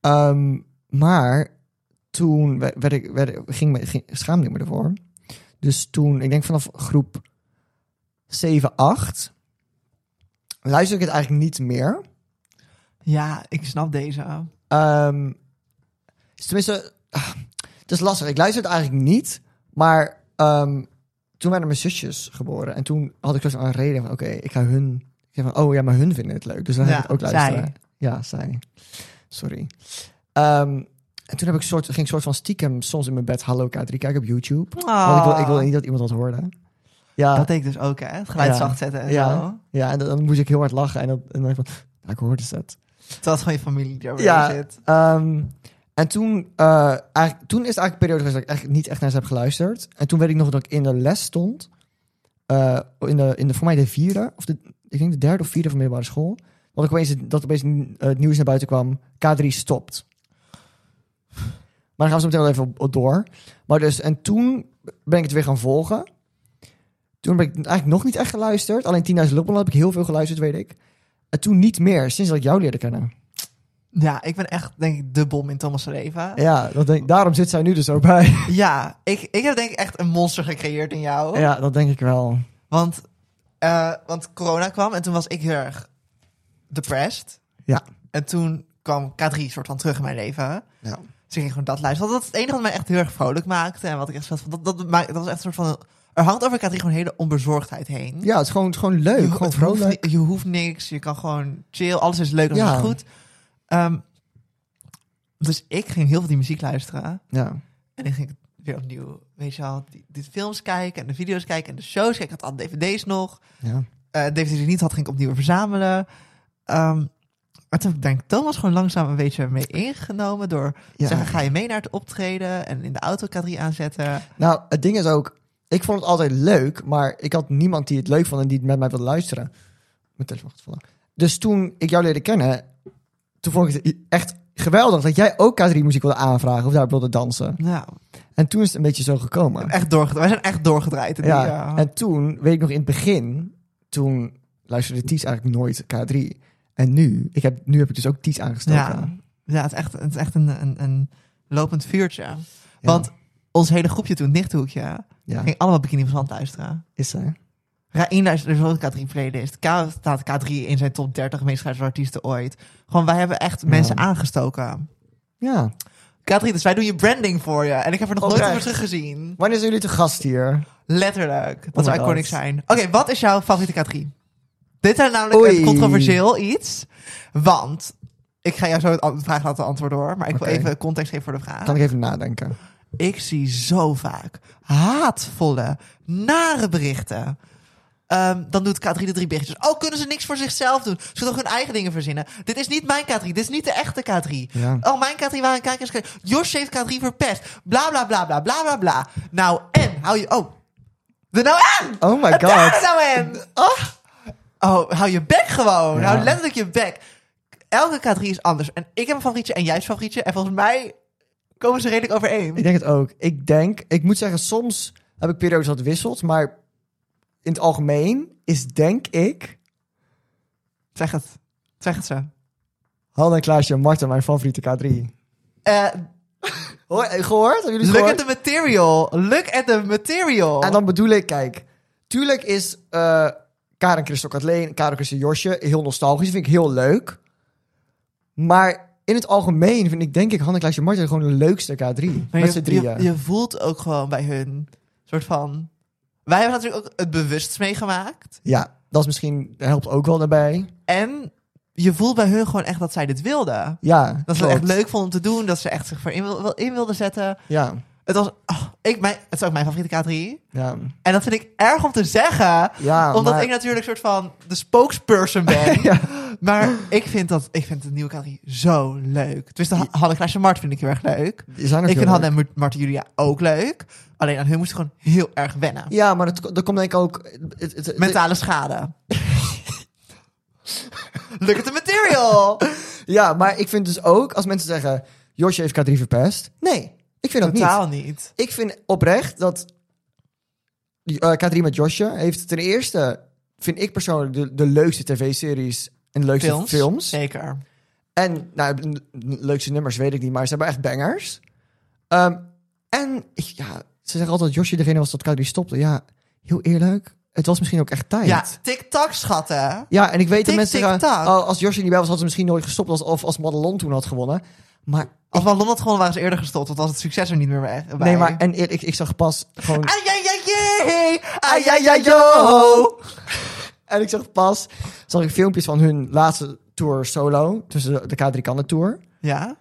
Speaker 2: Ehm, maar toen werd, werd ik, werd, ging, me- ging, schaamde ik me ervoor. Dus toen, ik denk vanaf groep 7, 8, luisterde ik het eigenlijk niet meer.
Speaker 1: Ja, ik snap deze.
Speaker 2: Ehm, dus tenminste, ah, het is lastig. Ik luister het eigenlijk niet. Maar ehm, toen werden mijn zusjes geboren. En toen had ik dus een reden van, oké, ik ga hun... Ik zei van, oh ja, maar hun vinden het leuk. Dus dan ga
Speaker 1: Ja,
Speaker 2: ik het ook
Speaker 1: zij.
Speaker 2: luisteren. Ja, zij. Sorry. Ehm, en toen heb ik soort, ging ik soort van stiekem soms in mijn bed Hallo K3 kijken op YouTube. Want ik wil, ik wil niet dat iemand dat hoorde. Ja,
Speaker 1: Ah. Dat deed ik dus ook, hè? Het geluid
Speaker 2: Ja.
Speaker 1: zacht zetten en zo.
Speaker 2: ja, ja en dan, dan moest ik heel hard lachen. En dan, en dan dacht ik van, "Ah, ik hoorde het.
Speaker 1: Terwijl het gewoon je familie daar weer
Speaker 2: Ja.
Speaker 1: zit.
Speaker 2: Ehm, en toen, eh, eigenlijk, toen is het eigenlijk een periode geweest dat ik echt niet echt naar ze heb geluisterd. En toen weet ik nog dat ik in de les stond. eh, in de, in de, voor mij de vierde, of de, ik denk de derde of vierde van middelbare school. Dat, ik opeens, dat opeens eh, het nieuws naar buiten kwam. K3 stopt. Maar dan gaan we zo meteen wel even op, op door. Maar dus, en toen ben ik het weer gaan volgen. Toen heb ik eigenlijk nog niet echt geluisterd. Alleen 10.000 Lubbel heb ik heel veel geluisterd, weet ik. En toen niet meer, sinds dat ik jou leerde kennen.
Speaker 1: Ja, ik ben echt, denk ik, de bom in Thomas Reva.
Speaker 2: Ja, dat denk, daarom zit zij nu dus ook (laughs) bij.
Speaker 1: Ja, ik, ik heb denk ik echt een monster gecreëerd in jou.
Speaker 2: Ja, dat denk ik wel.
Speaker 1: Want, eh, want corona kwam en toen was ik heel erg depressed.
Speaker 2: Ja.
Speaker 1: En toen kwam K3 soort van terug in mijn leven.
Speaker 2: Ja.
Speaker 1: Dus ik ging gewoon dat luisteren. Want dat is het enige wat mij echt heel erg vrolijk maakte. En wat ik echt zat van, dat, dat, maakt- dat was echt een soort van... Er hangt over K3 gewoon een hele onbezorgdheid heen.
Speaker 2: Ja, het is gewoon, het is gewoon leuk.
Speaker 1: Je,
Speaker 2: gewoon
Speaker 1: het hoeft
Speaker 2: vrolijk.
Speaker 1: ni- je hoeft niks, je kan gewoon chill, alles is leuk, alles
Speaker 2: Ja.
Speaker 1: is goed. Ehm, dus ik ging heel veel die muziek luisteren.
Speaker 2: Ja.
Speaker 1: En ik ging weer opnieuw, weet je wel, die, die films kijken en de video's kijken en de shows kijken. Ik had alle dvd's nog.
Speaker 2: ja.
Speaker 1: Eh dvd's die ik niet had, ging ik opnieuw verzamelen. Ehm, maar toen heb ik denk ik Thomas gewoon langzaam een beetje mee ingenomen door te
Speaker 2: Ja.
Speaker 1: zeggen, ga je mee naar het optreden en in de auto K3 aanzetten.
Speaker 2: Nou, het ding is ook, ik vond het altijd leuk, maar ik had niemand die het leuk vond en die het met mij wilde luisteren. Mijn telefoon gaat vallen. Dus toen ik jou leerde kennen, toen vond ik het echt geweldig dat jij ook K3-muziek wilde aanvragen of daar wilde dansen.
Speaker 1: Nou,
Speaker 2: En toen is het een beetje zo gekomen.
Speaker 1: echt doorgedraaid. Wij zijn echt doorgedraaid. in die,
Speaker 2: Ja.
Speaker 1: eh,
Speaker 2: En toen, weet ik nog in het begin, toen luisterde Ties eigenlijk nooit K3. En nu, ik heb, nu heb ik dus ook Ties aangestoken.
Speaker 1: Ja, ja het is echt, het is echt een, een, een lopend vuurtje.
Speaker 2: Ja.
Speaker 1: Want ons hele groepje toen, het Nichthoekje,
Speaker 2: ja,
Speaker 1: ging allemaal Bikini van Zand luisteren.
Speaker 2: is zij.
Speaker 1: Rain luisterde zo'n K3-playlist. K staat K3 in zijn top 30 meest geluisterde artiesten ooit. Gewoon, wij hebben echt mensen aangestoken.
Speaker 2: Ja.
Speaker 1: K3, dus wij doen je branding voor je. En ik heb er nog nooit
Speaker 2: Oprecht.
Speaker 1: over teruggezien.
Speaker 2: Wanneer zijn jullie te gast hier?
Speaker 1: Letterlijk. Dat
Speaker 2: Oh
Speaker 1: zou
Speaker 2: my
Speaker 1: iconic
Speaker 2: God.
Speaker 1: zijn. Oké, wat is jouw favoriete K3? Dit is namelijk
Speaker 2: Oei.
Speaker 1: een controversieel iets. Want, ik ga jou zo het an- vraag laten antwoorden hoor. Maar ik
Speaker 2: Oké.
Speaker 1: wil even context geven voor de vraag.
Speaker 2: Kan ik even nadenken.
Speaker 1: Ik zie zo vaak haatvolle, nare berichten. Ehm, dan doet K3 de drie berichtjes. Oh, kunnen ze niks voor zichzelf doen? Ze kunnen toch hun eigen dingen verzinnen? Dit is niet mijn K3. Dit is niet de echte K3.
Speaker 2: Ja.
Speaker 1: Oh, mijn K3 waren kijkers. Jos heeft K3 verpest. Bla, bla, bla, bla, bla, bla, bla. Nou, en? Hou je... Oh. De nou en!
Speaker 2: Oh (laughs) my
Speaker 1: Daar is
Speaker 2: god.
Speaker 1: nou en! Oh. oh, hou je bek gewoon.
Speaker 2: Ja.
Speaker 1: Hou letterlijk je bek. Elke K3 is anders. En ik heb een favorietje en jij hebt een favorietje. En volgens mij komen ze redelijk overeen.
Speaker 2: Ik denk het ook. Ik denk, ik moet zeggen, soms heb ik periodes dat het wisselt, maar in het algemeen is denk ik
Speaker 1: Zeg het. Zegt ze.
Speaker 2: Hanne, Klaasje en Marten, mijn favoriete K3.
Speaker 1: Eh,
Speaker 2: Hoor, eh, gehoord? Hebben jullie het
Speaker 1: look
Speaker 2: gehoord?
Speaker 1: at the material. Look at the material.
Speaker 2: En dan bedoel ik, kijk, tuurlijk is eh, Karen Christel Kathleen, Karen Christel Josje heel nostalgisch. Vind ik heel leuk. Maar in het algemeen vind ik, denk ik, Hanne Klaasje Martin gewoon de leukste K3.
Speaker 1: Maar
Speaker 2: met
Speaker 1: je,
Speaker 2: z'n drieën.
Speaker 1: Je, je voelt ook gewoon bij hun soort van... Wij hebben natuurlijk ook het bewust meegemaakt.
Speaker 2: Ja, dat is misschien, dat helpt ook wel daarbij.
Speaker 1: En je voelt bij hun gewoon echt dat zij dit wilden.
Speaker 2: Ja,
Speaker 1: Dat ze het echt
Speaker 2: klopt.
Speaker 1: leuk vonden om te doen. Dat ze echt zich voor in, wil- wil- in wilden zetten.
Speaker 2: Ja,
Speaker 1: Het was... ah, ik, mijn, het is ook mijn favoriete K3.
Speaker 2: ja,
Speaker 1: En dat vind ik erg om te zeggen.
Speaker 2: ja.
Speaker 1: omdat
Speaker 2: Ah, maar-
Speaker 1: ik natuurlijk soort van de spokesperson ben.
Speaker 2: (laughs) Ja.
Speaker 1: Maar ik vind, dat, ik vind de nieuwe K3 zo leuk. Dus de Hanne Klaasje Mart vind ik heel erg leuk.
Speaker 2: Die zijn ook
Speaker 1: Ik
Speaker 2: heel
Speaker 1: vind
Speaker 2: leuk.
Speaker 1: Hanne en Marten Julia ook leuk. Alleen aan hun moest ik gewoon heel erg wennen.
Speaker 2: Ja, maar dat, dat komt denk ik ook... Het, het- het-
Speaker 1: Mentale
Speaker 2: (laughs)
Speaker 1: schade. Look at the
Speaker 2: (laughs)
Speaker 1: material.
Speaker 2: Oh. Ja, maar ik vind dus ook, als mensen zeggen... Josje heeft K3 verpest. Nee, ik vind dat niet.
Speaker 1: Totaal niet.
Speaker 2: Ik vind oprecht dat eh, K3 met Josje heeft ten eerste, vind ik persoonlijk, de, de leukste tv-series en de leukste films.
Speaker 1: Films. Zeker.
Speaker 2: En nou, n- n- leukste nummers weet ik niet, maar ze hebben echt bangers. Ehm, en ik- ja, ze zeggen altijd dat Josje degene was dat K3 stopte. Ja, heel eerlijk, het was misschien ook echt tijd.
Speaker 1: Ja, tik-tak, schatten.
Speaker 2: Ja, en ik weet dat
Speaker 1: Tik,
Speaker 2: mensen
Speaker 1: tik,
Speaker 2: zeggen,
Speaker 1: tak.
Speaker 2: oh, als Josje niet bij was, had ze misschien nooit gestopt. Als, of als Madelon toen had gewonnen. Maar,
Speaker 1: Als we Londen gewoon waren ze eerder gestopt, want was het succes er niet meer bij.
Speaker 2: nee, maar en eerlijk, ik zag pas gewoon...
Speaker 1: Ajajajee!
Speaker 2: Ajajajo! En ik zag pas, zag ik filmpjes van hun laatste tour solo, tussen de K3 Kannen tour.
Speaker 1: Ja?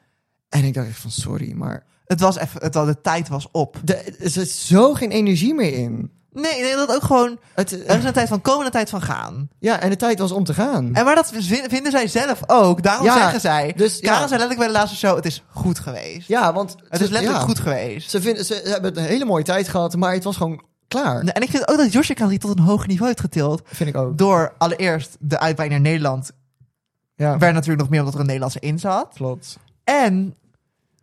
Speaker 2: En ik dacht echt van, sorry, maar
Speaker 1: Het was even, het, de tijd was op.
Speaker 2: de, er zit zo geen energie meer in.
Speaker 1: Nee, nee, dat ook gewoon.
Speaker 2: Het, eh,
Speaker 1: Er is een tijd van komen en een tijd van gaan.
Speaker 2: ja, en de tijd was om te gaan.
Speaker 1: En maar dat dus vin- vinden zij zelf ook. Daarom
Speaker 2: Ja,
Speaker 1: zeggen zij.
Speaker 2: dus,
Speaker 1: Dus,
Speaker 2: ja.
Speaker 1: Karen zei letterlijk bij de laatste show: het is goed geweest.
Speaker 2: Ja, want
Speaker 1: het is letterlijk
Speaker 2: ja.
Speaker 1: goed geweest.
Speaker 2: Ze, vinden, ze, ze hebben een hele mooie tijd gehad, maar het was gewoon klaar.
Speaker 1: En ik vind ook dat Josje die tot een hoger niveau heeft getild.
Speaker 2: Vind ik ook.
Speaker 1: Door allereerst de uitbreiding naar Nederland.
Speaker 2: Ja,
Speaker 1: Werd natuurlijk nog meer omdat er een Nederlandse in zat.
Speaker 2: klopt.
Speaker 1: En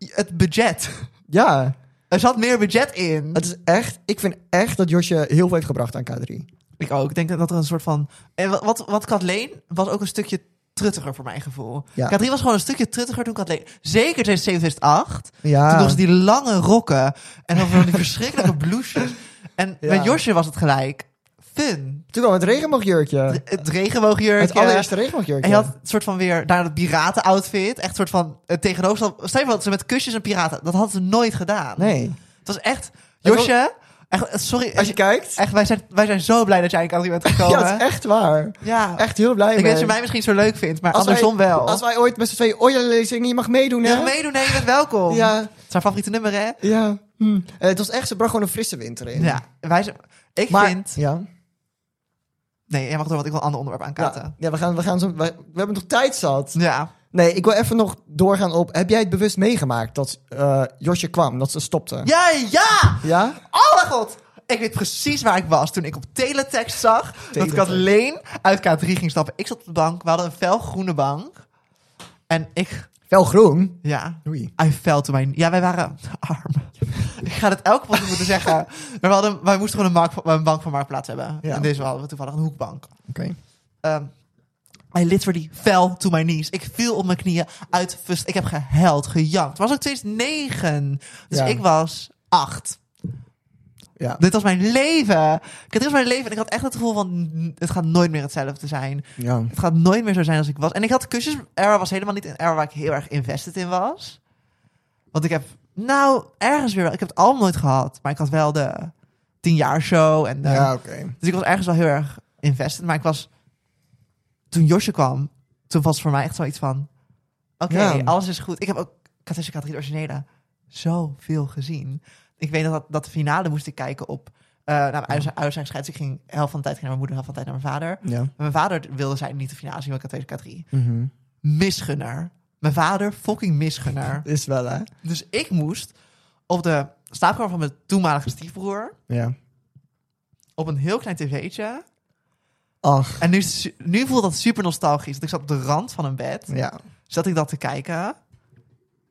Speaker 1: het budget. (laughs)
Speaker 2: Ja,
Speaker 1: Er zat meer budget in.
Speaker 2: het is echt, ik vind echt dat Josje heel veel heeft gebracht aan K3.
Speaker 1: Ik ook. Ik denk dat er een soort van. En wat, wat, wat Kathleen was ook een stukje truttiger voor mijn gevoel.
Speaker 2: Ja.
Speaker 1: K3 was gewoon een stukje truttiger toen Kathleen. Zeker 2007, 2008.
Speaker 2: Ja.
Speaker 1: Toen droeg ze die lange rokken. En dan van die
Speaker 2: (laughs)
Speaker 1: verschrikkelijke blouses. En
Speaker 2: Ja.
Speaker 1: met Josje was het gelijk. Fun.
Speaker 2: Toen kwam het regenboogjurkje.
Speaker 1: Het regenboogjurkje.
Speaker 2: Het allereerste
Speaker 1: En
Speaker 2: regenboogjurkje.
Speaker 1: je had een soort van weer daar dat piraten outfit. Echt een soort van eh, tegenovergesteld. Stel je voor dat ze met kusjes en piraten. Dat hadden ze nooit gedaan.
Speaker 2: Nee.
Speaker 1: Het was echt.
Speaker 2: wil-
Speaker 1: Josje. Echt, sorry.
Speaker 2: Als je kijkt.
Speaker 1: Echt, wij zijn, wij zijn zo blij dat jij in K3 bent gekomen.
Speaker 2: Ja, dat is echt waar.
Speaker 1: Ja.
Speaker 2: Echt heel blij
Speaker 1: Ik
Speaker 2: mee.
Speaker 1: weet dat je mij misschien zo leuk vindt, maar
Speaker 2: Als wij-
Speaker 1: andersom wel.
Speaker 2: Als wij ooit met z'n tweeën Oja-lezing niet mag meedoen,
Speaker 1: Je
Speaker 2: hè?
Speaker 1: mag meedoen, nee, je bent welkom.
Speaker 2: Ja.
Speaker 1: Het is haar favoriete nummer, hè?
Speaker 2: Ja. Hm. Eh, het was echt, ze bracht gewoon een frisse winter in.
Speaker 1: Ja, wij zijn... Ik
Speaker 2: Maar,
Speaker 1: vind...
Speaker 2: Ja.
Speaker 1: Nee, jij mag door, want ik wil een ander onderwerp aankaarten.
Speaker 2: Ja, ja, we gaan, we gaan zo... We, we hebben nog tijd zat.
Speaker 1: Ja.
Speaker 2: Nee, ik wil even nog doorgaan op... Heb jij het bewust meegemaakt dat eh, Josje kwam, dat ze stopte?
Speaker 1: Ja, ja!
Speaker 2: Ja?
Speaker 1: Oh mijn god! Ik weet precies waar ik was toen ik op teletext zag
Speaker 2: Teletext.
Speaker 1: dat ik alleen uit K3 ging stappen. Ik zat op de bank, we hadden een felgroene bank. En ik...
Speaker 2: Wel groen.
Speaker 1: Ja,
Speaker 2: Oei.
Speaker 1: I fell to my... Ja, wij waren (laughs) arm. ik ga het elke keer moeten
Speaker 2: (laughs)
Speaker 1: zeggen. Maar we hadden, wij moesten gewoon een, mark, een bank voor Marktplaats hebben.
Speaker 2: Ja.
Speaker 1: En deze hadden we toevallig een hoekbank.
Speaker 2: Oké.
Speaker 1: Ehm I literally fell to my knees. Ik viel op mijn knieën uit frust. Ik heb gehuild, gejankt. Het was ook steeds negen. Dus
Speaker 2: Ja.
Speaker 1: ik was acht.
Speaker 2: Ja.
Speaker 1: Dit was mijn leven. Ik had, dit was mijn leven en ik had echt het gevoel van... mm, het gaat nooit meer hetzelfde zijn.
Speaker 2: Ja.
Speaker 1: Het gaat nooit meer zo zijn als ik was. En ik had kusjes. Er was helemaal niet een era waar ik heel erg invested in was. Want ik heb... Nou, ergens weer wel. Ik heb het allemaal nooit gehad. Maar ik had wel de tienjaarshow en de...
Speaker 2: Ja, oké.
Speaker 1: Dus ik was ergens wel heel erg invested. Maar ik was... Toen Josje kwam, toen was het voor mij echt zoiets van... Oké,
Speaker 2: Ja.
Speaker 1: alles is goed. Ik heb ook Katusha K3 de originele zoveel gezien. Ik weet nog dat, dat de finale moest ik kijken op... eh nou, mijn ouders- ouders zijn gescheiden. Dus ik ging helft van de tijd ging naar mijn moeder, helft van de tijd naar mijn vader.
Speaker 2: Ja.
Speaker 1: Maar Mijn vader wilde zij niet de finale zien, want ik had deze K3.
Speaker 2: Mhm.
Speaker 1: Misgunner. Mijn vader, fucking
Speaker 2: (laughs)
Speaker 1: misgunner.
Speaker 2: Is wel, hè?
Speaker 1: Dus ik moest op de slaapkamer van mijn toenmalige stiefbroer...
Speaker 2: Ja.
Speaker 1: op een heel klein tv'tje...
Speaker 2: Ach.
Speaker 1: En nu, su- nu voelt dat super nostalgisch. Want ik zat op de rand van een bed.
Speaker 2: Ja.
Speaker 1: Zat ik dat te kijken.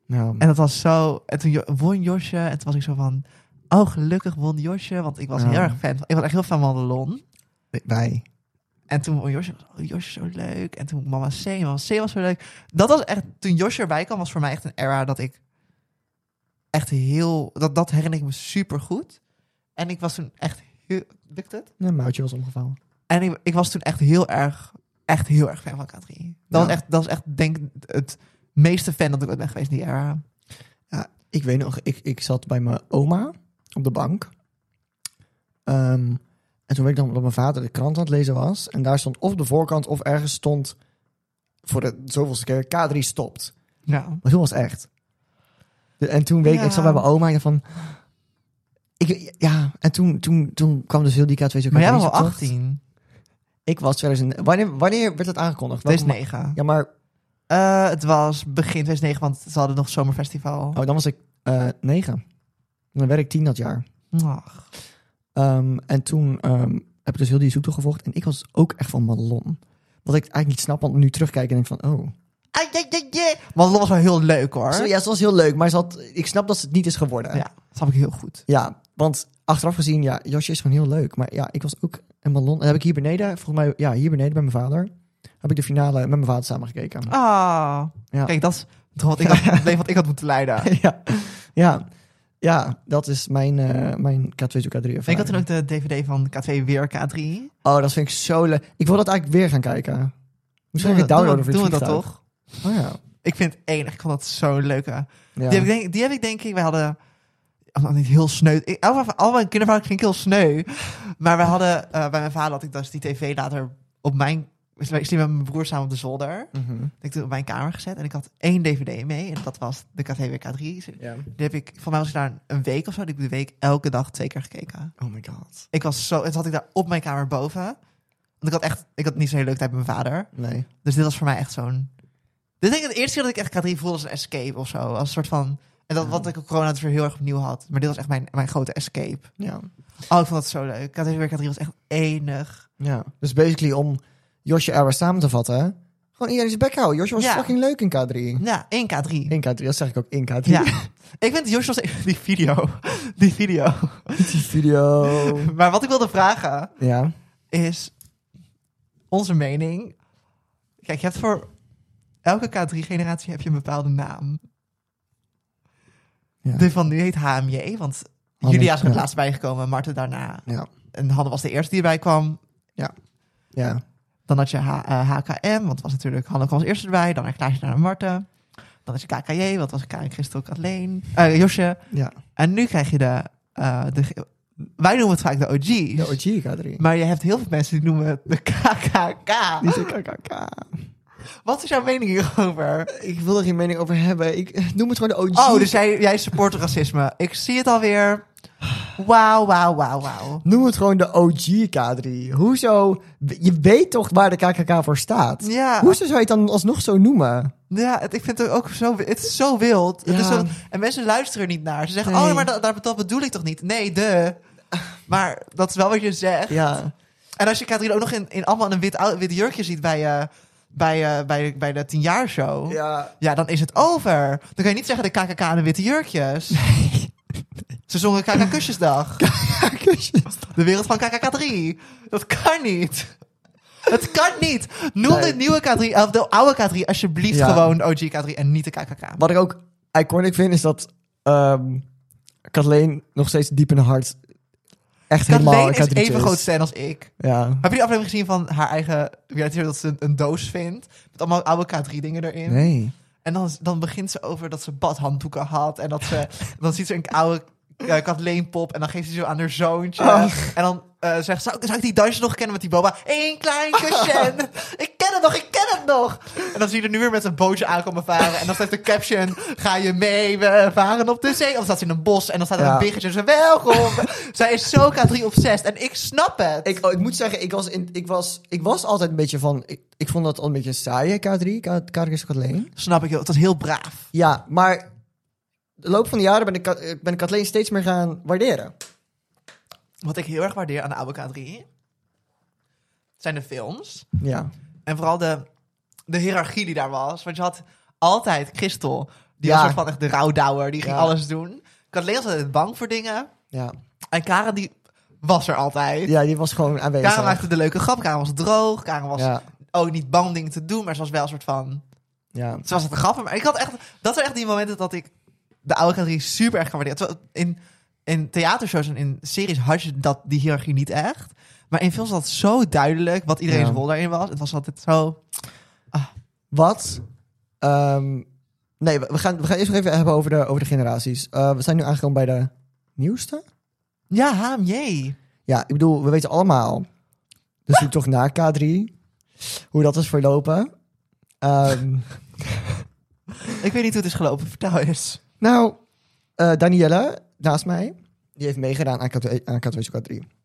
Speaker 2: Nou.
Speaker 1: En dat was zo... En toen jo- won Josje. En toen was ik zo van... Oh, gelukkig won Josje. Want ik was
Speaker 2: Ja.
Speaker 1: heel erg fan. van- Ik was echt heel fan van Madelon.
Speaker 2: Wij.
Speaker 1: En toen oh, Josje, was- oh, Josje zo leuk. En toen mama C, mama C was zo leuk. Dat was echt, toen Josje erbij kwam, was voor mij echt een era dat ik echt heel, dat, dat herinner ik me super goed. En ik was toen echt heel, lukt het?
Speaker 2: Een muiltje was omgevallen.
Speaker 1: En ik, ik was toen echt heel erg, echt heel erg fan van K3. Dat, was, echt, dat was echt, denk ik, het meeste fan dat ik ooit ben geweest in die era.
Speaker 2: Ik weet nog, ik, ik zat bij mijn oma op de bank. Ehm, en toen weet ik nog dat mijn vader de krant aan het lezen was. En daar stond of de voorkant of ergens stond voor de zoveelste keer K3 stopt.
Speaker 1: Ja.
Speaker 2: Maar toen was het echt. De- en toen weet ik, ik zat
Speaker 1: Ja.
Speaker 2: bij mijn oma en ik dacht van... Ik, ja, en toen, toen, toen kwam dus heel die K2 zo
Speaker 1: Maar jij
Speaker 2: K3
Speaker 1: was al
Speaker 2: zoektocht.
Speaker 1: 18.
Speaker 2: Ik was 2000... Wanneer, wanneer werd dat aangekondigd? Welke ma-
Speaker 1: 2009.
Speaker 2: Ja, maar...
Speaker 1: Eh, het was begin 2009, want ze hadden nog zomerfestival.
Speaker 2: Oh, dan was ik eh negen. Dan werd ik tien dat jaar.
Speaker 1: Ach.
Speaker 2: Ehm, en toen ehm, heb ik dus heel die zoektocht gevolgd. En ik was ook echt van Madelon. Wat ik eigenlijk niet snap, want nu terugkijken en denk van... Oh,
Speaker 1: Ai, ai, ai, ai. Want dat was wel heel leuk hoor.
Speaker 2: Zo, ja, ze was heel leuk, maar ze had, ik snap dat ze het niet is geworden.
Speaker 1: Ja, dat snap ik heel goed.
Speaker 2: Ja, want achteraf gezien, ja, Josje is gewoon heel leuk. Maar ja, ik was ook een ballon. En dan heb ik hier beneden, volgens mij, ja, hier beneden bij mijn vader, heb ik de finale met mijn vader samen gekeken.
Speaker 1: Ah,
Speaker 2: Ja.
Speaker 1: kijk, dat is toch wat ik had, (laughs) het leven wat ik had moeten leiden.
Speaker 2: (laughs) ja, ja, ja, dat is mijn, eh, mijn K2 to K3
Speaker 1: Ik
Speaker 2: ervaring.
Speaker 1: had toen ook de DVD van K2 weer K3.
Speaker 2: Oh, dat vind ik zo leuk. Ik wil dat eigenlijk weer gaan kijken. Misschien ga
Speaker 1: Doen we-
Speaker 2: ik het downloaden voor
Speaker 1: Doen we
Speaker 2: het
Speaker 1: dat toch?
Speaker 2: vliegtuig. Oh ja.
Speaker 1: Ik vind het enig. Ik vond dat zo'n leuke.
Speaker 2: ja.
Speaker 1: Die, heb ik denk, die heb ik denk ik, we hadden... oh, nou, niet heel sneu. Ik, al, mijn, al mijn kinderverhaal ging ik heel sneu. Maar we hadden, eh, bij mijn vader had ik dus die tv later op mijn... Ik sliep met mijn broer samen op de zolder.
Speaker 2: Mhm.
Speaker 1: Ik heb toen op mijn kamer gezet en ik had één DVD mee. En dat was de KTWK3. Die
Speaker 2: Ja.
Speaker 1: heb ik, voor mij was ik daar een week of zo. Die heb ik de week elke dag twee keer gekeken.
Speaker 2: Oh my god.
Speaker 1: Ik was zo, en toen had ik daar op mijn kamer boven. Want ik had echt, ik had niet zo'n hele leuke tijd met mijn vader.
Speaker 2: Nee.
Speaker 1: Dus dit was voor mij echt zo'n. Dit denk ik het eerste keer dat ik echt K3 voelde als een escape of zo. Als een soort van. En dat wat ik op corona dus weer heel erg opnieuw had. Maar dit was echt mijn, mijn grote escape.
Speaker 2: Ja.
Speaker 1: Oh, ik vond dat zo leuk. KTWK3 was echt enig.
Speaker 2: Ja. Dus basically om Josje Era samen te vatten, gewoon iedereen zijn bek houden. Josje was
Speaker 1: Ja.
Speaker 2: fucking leuk in K3.
Speaker 1: Ja, één K3.
Speaker 2: In K3, dat zeg ik ook in K3.
Speaker 1: Ja. ik vind Josh nog steeds- (laughs) Die video. Die video.
Speaker 2: (laughs) Die video.
Speaker 1: Maar wat ik wilde vragen
Speaker 2: Ja.
Speaker 1: is onze mening. Kijk, je hebt voor elke K3-generatie heb je een bepaalde naam.
Speaker 2: Ja.
Speaker 1: De van nu heet HMJ, want
Speaker 2: Hanne-
Speaker 1: Julia is er het
Speaker 2: ja.
Speaker 1: laatst bijgekomen, Marten daarna.
Speaker 2: Ja.
Speaker 1: En Hanne was de eerste die erbij kwam.
Speaker 2: Ja.
Speaker 1: Dan had je H- eh, HKM, want het was natuurlijk Hanne kwam als eerste erbij. Dan Klaasje naar Marten. Dan is je KKJ, wat was Karin Christel Kathleen, eh Josje.
Speaker 2: Ja.
Speaker 1: En nu krijg je de, eh, de... ge- Wij noemen het vaak de OG's.
Speaker 2: De OG K3.
Speaker 1: Maar je hebt heel veel mensen die noemen het de KKK.
Speaker 2: Die zei KKK.
Speaker 1: Wat is jouw mening hierover?
Speaker 2: Ik wil er geen mening over hebben. Ik noem het gewoon de OG.
Speaker 1: Oh, dus jij, jij support racisme. Ik zie het alweer. Wauw, wauw, wauw, wauw.
Speaker 2: Noem het gewoon de OG K3. Hoezo? Je weet toch waar de KKK voor staat?
Speaker 1: Ja.
Speaker 2: Hoezo zou je het dan alsnog zo noemen?
Speaker 1: Ja, het, ik vind het ook zo, het is zo wild. Het is
Speaker 2: Ja.
Speaker 1: zo- en mensen luisteren er niet naar. Ze zeggen,
Speaker 2: Nee.
Speaker 1: oh, maar dat, dat, dat bedoel ik toch niet? Nee, de. Maar dat is wel wat je zegt.
Speaker 2: Ja.
Speaker 1: En als je Katrien ook nog in, in allemaal in een wit, ou- wit jurkje ziet bij, eh, bij, eh, bij, bij de tienjaarshow.
Speaker 2: Ja.
Speaker 1: Ja, dan is het over. Dan kan je niet zeggen de KKK en de witte jurkjes. Ze zongen KKKusjesdag. De wereld van KKK3. Dat kan niet. Het kan niet. Noem
Speaker 2: Nee.
Speaker 1: de nieuwe K3, of de oude K3, alsjeblieft
Speaker 2: Ja.
Speaker 1: gewoon de OG K3 en niet de KKK.
Speaker 2: Wat ik ook iconic vind is dat ehm Kathleen nog steeds diep in haar hart echt helemaal
Speaker 1: Kathleen
Speaker 2: een
Speaker 1: is
Speaker 2: K3'tje
Speaker 1: even groot fan als ik.
Speaker 2: Ja.
Speaker 1: Heb je die aflevering gezien van haar eigen reality show dat ze een, een doos vindt? Met allemaal oude K3 dingen erin.
Speaker 2: Nee.
Speaker 1: En dan, dan begint ze over dat ze badhanddoeken had. En dat ze, dan ziet ze een oude eh Kathleen pop. En dan geeft ze zo aan haar zoontje.
Speaker 2: Ach.
Speaker 1: En dan eh, zegt ze, zou, zou ik die dansje nog kennen met die boba? Eén klein kusje.
Speaker 2: (laughs)
Speaker 1: ik ken het nog, ik ken het nog. En dan zie je er nu weer met een bootje aankomen varen. En dan staat de caption, ga je mee, we varen op de zee. Of dan staat ze in een bos en dan staat er
Speaker 2: Ja.
Speaker 1: een biggetje. Ze welkom. Zij is zo K3 obsessed. En ik snap het.
Speaker 2: Ik, oh, ik moet zeggen, ik was, in, ik, was, ik was altijd een beetje van... Ik, ik vond dat al een beetje een saaie K3, K- K3 is Kathleen.
Speaker 1: snap ik heel, het was heel braaf.
Speaker 2: Ja, maar de loop van de jaren ben ik, Ka- eh, ben ik Kathleen steeds meer gaan waarderen.
Speaker 1: Wat ik heel erg waardeer aan de oude K3... zijn de films.
Speaker 2: Ja.
Speaker 1: En vooral de, de hiërarchie die daar was. Want je had altijd Christel, die
Speaker 2: Ja.
Speaker 1: was soort van echt de rouwdouwer, die ging
Speaker 2: Ja.
Speaker 1: alles doen. Kathleen was altijd bang voor dingen.
Speaker 2: Ja.
Speaker 1: En Karen, die was er altijd.
Speaker 2: Ja, die was gewoon aanwezig.
Speaker 1: Karen maakte de leuke grap. Karen was droog. Karen was
Speaker 2: ja,
Speaker 1: ook niet bang om dingen te doen. Maar ze was wel een soort van...
Speaker 2: ja.
Speaker 1: Ze was het een grap. Maar ik had echt... Dat zijn echt die momenten dat ik de oude categorie super erg kan waarderen. Terwijl in, in theatershows en in series had je dat, die hiërarchie niet echt. Maar in films was dat zo duidelijk wat iedereen's
Speaker 2: Ja.
Speaker 1: rol daarin was. Het was altijd zo...
Speaker 2: Wat? ehm, nee, we we gaan, we gaan eerst nog even hebben over de, over de generaties. Eh, we zijn nu aangekomen bij de nieuwste.
Speaker 1: Ja, HMJ.
Speaker 2: Ja, ik bedoel, we weten allemaal. Dus zoek toch naar K3. Hoe dat is verlopen. Ehm, (laughs)
Speaker 1: Ik weet niet hoe het is gelopen. Vertel eens.
Speaker 2: nou, eh, Danielle, naast mij, die heeft meegedaan aan K2 aan K2 K3.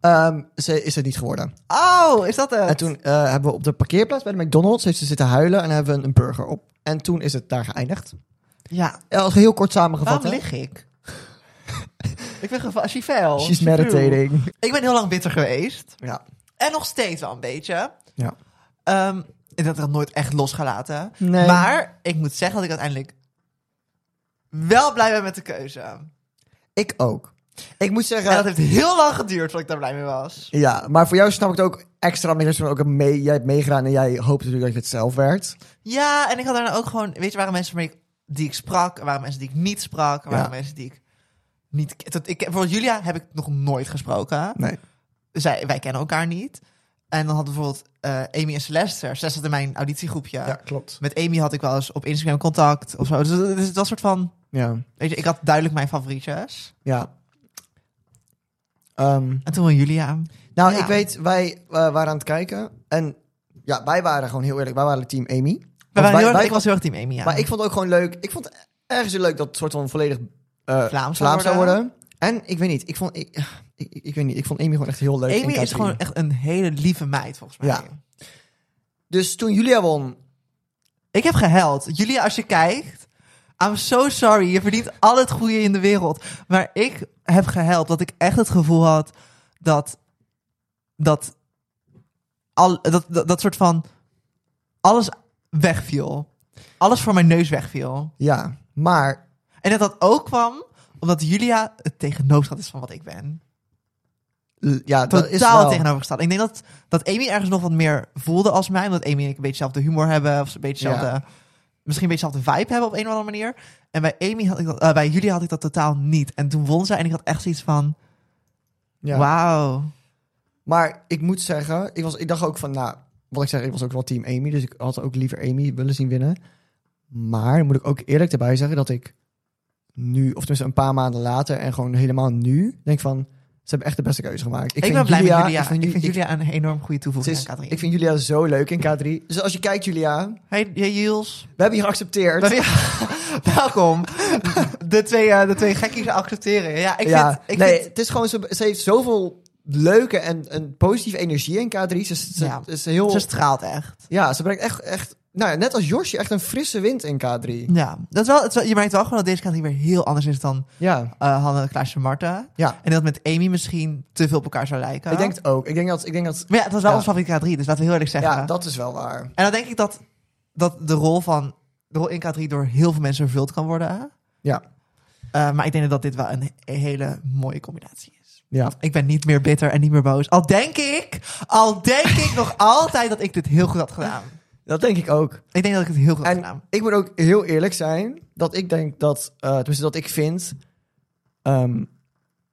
Speaker 2: Ehm, ze is het niet geworden.
Speaker 1: Oh, is dat het?
Speaker 2: En toen eh, hebben we op de parkeerplaats bij de McDonald's heeft ze zitten huilen en hebben we een, een burger op. En toen is het daar geëindigd.
Speaker 1: Ja.
Speaker 2: Ja, Als heel kort samengevat.
Speaker 1: Waarom
Speaker 2: hè?
Speaker 1: lig ik? ik ben gevallen. She fell.
Speaker 2: She's
Speaker 1: She flew.
Speaker 2: meditating.
Speaker 1: Ik ben heel lang bitter geweest.
Speaker 2: Ja.
Speaker 1: En nog steeds wel een beetje.
Speaker 2: Ja.
Speaker 1: Ehm, ik heb dat nooit echt losgelaten.
Speaker 2: Nee.
Speaker 1: Maar ik moet zeggen dat ik uiteindelijk wel blij ben met de keuze.
Speaker 2: Ik ook. Ik moet
Speaker 1: En dat
Speaker 2: zeggen,
Speaker 1: heeft heel lang geduurd voordat ik daar blij mee was.
Speaker 2: ja, maar voor jou snap ik het ook extra, omdat je ook mee, jij hebt meegedaan en jij hoopt natuurlijk dat je het zelf werd.
Speaker 1: Ja, en ik had daarna ook gewoon... Weet je, er waren mensen waarmee ik, die ik sprak. Er waren mensen die ik niet sprak. Er waren
Speaker 2: Ja.
Speaker 1: mensen die ik niet... ke- Dat, ik, bijvoorbeeld Julia heb ik nog nooit gesproken.
Speaker 2: Nee.
Speaker 1: zij, wij kennen elkaar niet. En dan hadden bijvoorbeeld eh, Amy en Celeste. er. Celeste zat in mijn auditiegroepje.
Speaker 2: Ja, klopt.
Speaker 1: Met Amy had ik wel eens op Instagram contact of zo. Dus, het- dus het was een soort van...
Speaker 2: Ja.
Speaker 1: Weet je, ik had duidelijk mijn favorietjes.
Speaker 2: Ja. Ehm,
Speaker 1: En toen wel Julia.
Speaker 2: nou,
Speaker 1: Ja.
Speaker 2: ik weet, wij eh, waren aan het kijken en ja, wij waren gewoon heel eerlijk, wij waren team Amy. Want
Speaker 1: We waren
Speaker 2: wij-
Speaker 1: heel erg,
Speaker 2: wij-
Speaker 1: ik was heel erg team Amy, ja.
Speaker 2: Maar ik vond het ook gewoon leuk, ik vond het ergens heel leuk dat het soort van volledig eh,
Speaker 1: Vlaams
Speaker 2: Vlaams,
Speaker 1: zou
Speaker 2: zou worden. En ik weet niet, ik vond, ik, ik, ik weet niet, ik vond Amy gewoon echt heel leuk. in
Speaker 1: Amy is
Speaker 2: K3.
Speaker 1: gewoon echt een hele lieve meid, volgens mij.
Speaker 2: Ja. Dus toen Julia won,
Speaker 1: Ik heb gehuild. Julia, als je kijkt... I'm so sorry. Je verdient al het goede in de wereld. Maar ik heb gehuild. Dat ik echt het gevoel had dat... Dat... Al, dat, dat, dat soort van... Alles wegviel. Alles voor mijn neus wegviel.
Speaker 2: ja, maar
Speaker 1: En dat dat ook kwam omdat Julia het tegenovergestelde is van wat ik ben.
Speaker 2: l- ja, dat is
Speaker 1: Totaal
Speaker 2: wel...
Speaker 1: tegenovergesteld. Ik denk dat, dat Amy ergens nog wat meer voelde als mij. Omdat Amy en ik een beetje hetzelfde humor hebben. Of ze een beetje
Speaker 2: Ja.
Speaker 1: hetzelfde- misschien een beetje hetzelfde vibe hebben op een of andere manier. En bij, Amy had ik dat, eh, bij jullie had ik dat totaal niet. En toen won zij en ik had echt zoiets van...
Speaker 2: Ja.
Speaker 1: Wauw.
Speaker 2: Maar ik moet zeggen, ik, was, ik dacht ook van, nou, wat ik zeg, ik was ook wel team Amy, dus ik had ook liever Amy willen zien winnen. Maar moet ik ook eerlijk erbij zeggen dat ik nu, of tenminste een paar maanden later en gewoon helemaal nu, denk van, ze hebben echt de beste keuze gemaakt.
Speaker 1: Ik, ben blij met Julia. Ik vind,
Speaker 2: Ju-
Speaker 1: Julia een enorm goede
Speaker 2: ik- ze
Speaker 1: toevoeging
Speaker 2: is-
Speaker 1: aan K3.
Speaker 2: ik vind Julia zo leuk in K3. Dus als je kijkt, Julia,
Speaker 1: Hey, hey Jules.
Speaker 2: we hebben je geaccepteerd.
Speaker 1: (laughs) Welkom. de, twee, eh, de twee gekkies accepteren. Ja, ik
Speaker 2: ja,
Speaker 1: vind... Ik
Speaker 2: nee,
Speaker 1: vind
Speaker 2: het is gewoon, ze, ze heeft zoveel leuke en, en positieve energie in K3. Ze, ze,
Speaker 1: Ja.
Speaker 2: is heel,
Speaker 1: ze straalt echt.
Speaker 2: ja, ze brengt echt, echt, nou ja, net als Josje, echt een frisse wind in K3.
Speaker 1: Ja, dat is wel, het is wel- je merkt wel gewoon dat deze categorie weer heel anders is dan
Speaker 2: Ja,
Speaker 1: eh Hanne, Klaasje en Marta.
Speaker 2: ja.
Speaker 1: En dat met Amy misschien te veel op elkaar zou lijken.
Speaker 2: Ik denk het ook. Ik denk dat, ik denk dat,
Speaker 1: maar ja, het was wel
Speaker 2: Ja.
Speaker 1: ons favoriete K3, dus laten we heel eerlijk zeggen.
Speaker 2: ja, dat is wel waar.
Speaker 1: En dan denk ik dat, dat de rol van de rol in K3 door heel veel mensen vervuld kan worden.
Speaker 2: Ja,
Speaker 1: Eh, maar ik denk dat dit wel een he- hele mooie combinatie is.
Speaker 2: ja.
Speaker 1: Ik ben niet meer bitter en niet meer boos. Al denk ik, al denk ik
Speaker 2: (laughs)
Speaker 1: nog altijd dat ik dit heel goed had gedaan.
Speaker 2: Dat denk ik ook.
Speaker 1: Ik denk dat ik het heel goed had
Speaker 2: En
Speaker 1: gedaan.
Speaker 2: ik moet ook heel eerlijk zijn dat ik denk dat, eh tenminste dat ik vind, ehm,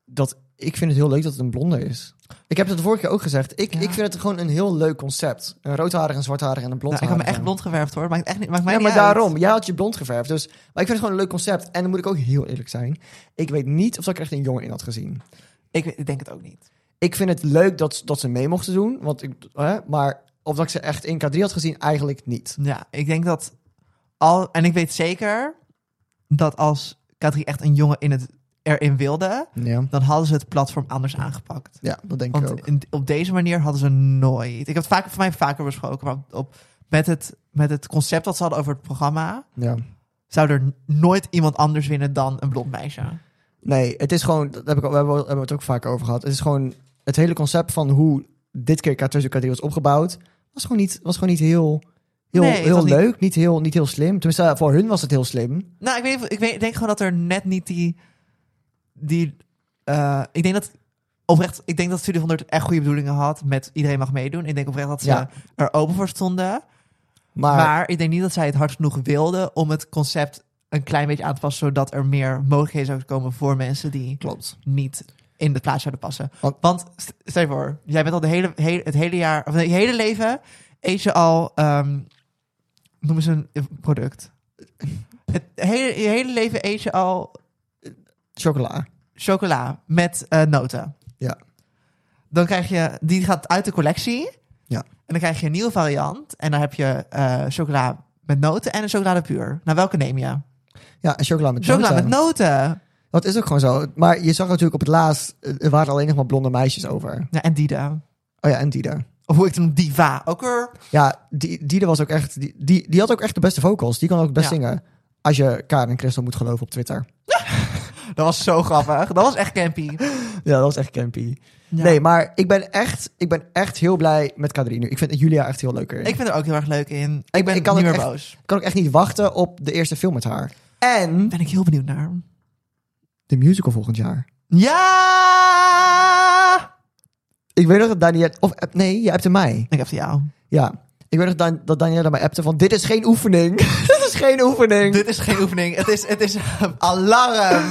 Speaker 2: dat ik vind het heel leuk dat het een blonde is. Ik heb het de vorige keer ook gezegd. Ik,
Speaker 1: Ja.
Speaker 2: ik vind het gewoon een heel leuk concept. Een roodharig, een zwartharig en een
Speaker 1: Nou, ik
Speaker 2: blondharig.
Speaker 1: had me echt blond geverfd hoor. Maakt, echt niet, maakt mij
Speaker 2: Ja,
Speaker 1: niet
Speaker 2: maar
Speaker 1: uit.
Speaker 2: daarom. Jij had je blond geverfd. Dus, maar ik vind het gewoon een leuk concept. En dan moet ik ook heel eerlijk zijn. Ik weet niet of dat ik er echt een jongen in had gezien.
Speaker 1: Ik, ik denk het ook niet.
Speaker 2: Ik vind het leuk dat, dat ze mee mochten doen. Want ik, hè, maar of dat ik ze echt in K3 had gezien, eigenlijk niet.
Speaker 1: Ja, ik denk dat al. En ik weet zeker dat als K3 echt een jongen in het, erin wilde,
Speaker 2: Ja,
Speaker 1: dan hadden ze het platform anders aangepakt.
Speaker 2: ja dat denk ik
Speaker 1: Want
Speaker 2: ook.
Speaker 1: in- op deze manier hadden ze nooit. Ik heb het vaak, voor mij vaker besproken, maar op, op- met, het, met het concept dat ze hadden over het programma,
Speaker 2: Ja.
Speaker 1: zou er nooit iemand anders winnen dan een blond meisje.
Speaker 2: Nee, het is gewoon, dat heb ik, al- we hebben, we hebben het ook vaak over gehad. Het is gewoon het hele concept van hoe dit keer K2 en K3 was opgebouwd, was gewoon niet, was gewoon niet heel, heel,
Speaker 1: Nee, het was
Speaker 2: heel
Speaker 1: niet-
Speaker 2: leuk. Niet... heel, niet heel slim. Tenminste, eh, voor hun was het heel slim.
Speaker 1: Nou, ik, weet, ik weet, ik denk gewoon dat er net niet die. die eh, ik denk dat oprecht, ik denk dat Studio 100 echt goede bedoelingen had met iedereen mag meedoen. Ik denk oprecht dat ze
Speaker 2: Ja.
Speaker 1: er open voor stonden.
Speaker 2: Maar,
Speaker 1: Maar, ik denk niet dat zij het hard genoeg wilden om het concept een klein beetje aan te passen, zodat er meer mogelijkheden zouden komen voor mensen die
Speaker 2: klopt.
Speaker 1: niet in de plaats zouden passen.
Speaker 2: Want-
Speaker 1: Want, st- stel je voor, jij bent al de hele, he- het hele jaar, of nee, je hele leven, eet je al, ehm noem eens een product. Het hele, je hele leven eet je al
Speaker 2: Chocola.
Speaker 1: chocola met eh, noten.
Speaker 2: Ja.
Speaker 1: Dan krijg je, die gaat uit de collectie.
Speaker 2: Ja.
Speaker 1: En dan krijg je een nieuwe variant. En dan heb je eh, chocola met noten en een chocolade puur. Nou, welke neem je?
Speaker 2: Ja, en chocola met
Speaker 1: Chocola
Speaker 2: noten.
Speaker 1: met noten.
Speaker 2: Dat is ook gewoon zo. Maar je zag natuurlijk op het laatst, eh, er waren alleen nog maar blonde meisjes over.
Speaker 1: Ja, en Dida.
Speaker 2: Oh ja, en Dida.
Speaker 1: Of hoe ik het noem, Diva. Ook er.
Speaker 2: Ja, die, Dida was ook echt, die, die, die had ook echt de beste vocals. Die kan ook het best
Speaker 1: Ja.
Speaker 2: zingen. Als je Karen en Christel moet geloven op Twitter.
Speaker 1: Dat was zo grappig. Dat was echt campy.
Speaker 2: Ja, dat was echt campy.
Speaker 1: Ja.
Speaker 2: (laughs) Nee, maar ik ben, echt, ik ben echt heel blij met K3 nu. Ik vind Julia echt heel leuk.
Speaker 1: Ik
Speaker 2: Ik
Speaker 1: vind er ook heel erg leuk in. Ik ben
Speaker 2: ik kan
Speaker 1: nu
Speaker 2: ook
Speaker 1: weer
Speaker 2: echt-
Speaker 1: boos.
Speaker 2: kan ook echt niet wachten op de eerste film met haar. En
Speaker 1: Ben ik heel benieuwd naar.
Speaker 2: de musical volgend jaar.
Speaker 1: Ja!
Speaker 2: Ik weet nog dat Danielle... Of, eh, nee, je appte mij.
Speaker 1: Ik heb voor jou.
Speaker 2: Ja. Ik weet nog Dan- dat Danielle mij appte van... Dit is geen oefening. (laughs) dit is geen oefening.
Speaker 1: Dit is geen oefening. Het is, het is een alarm.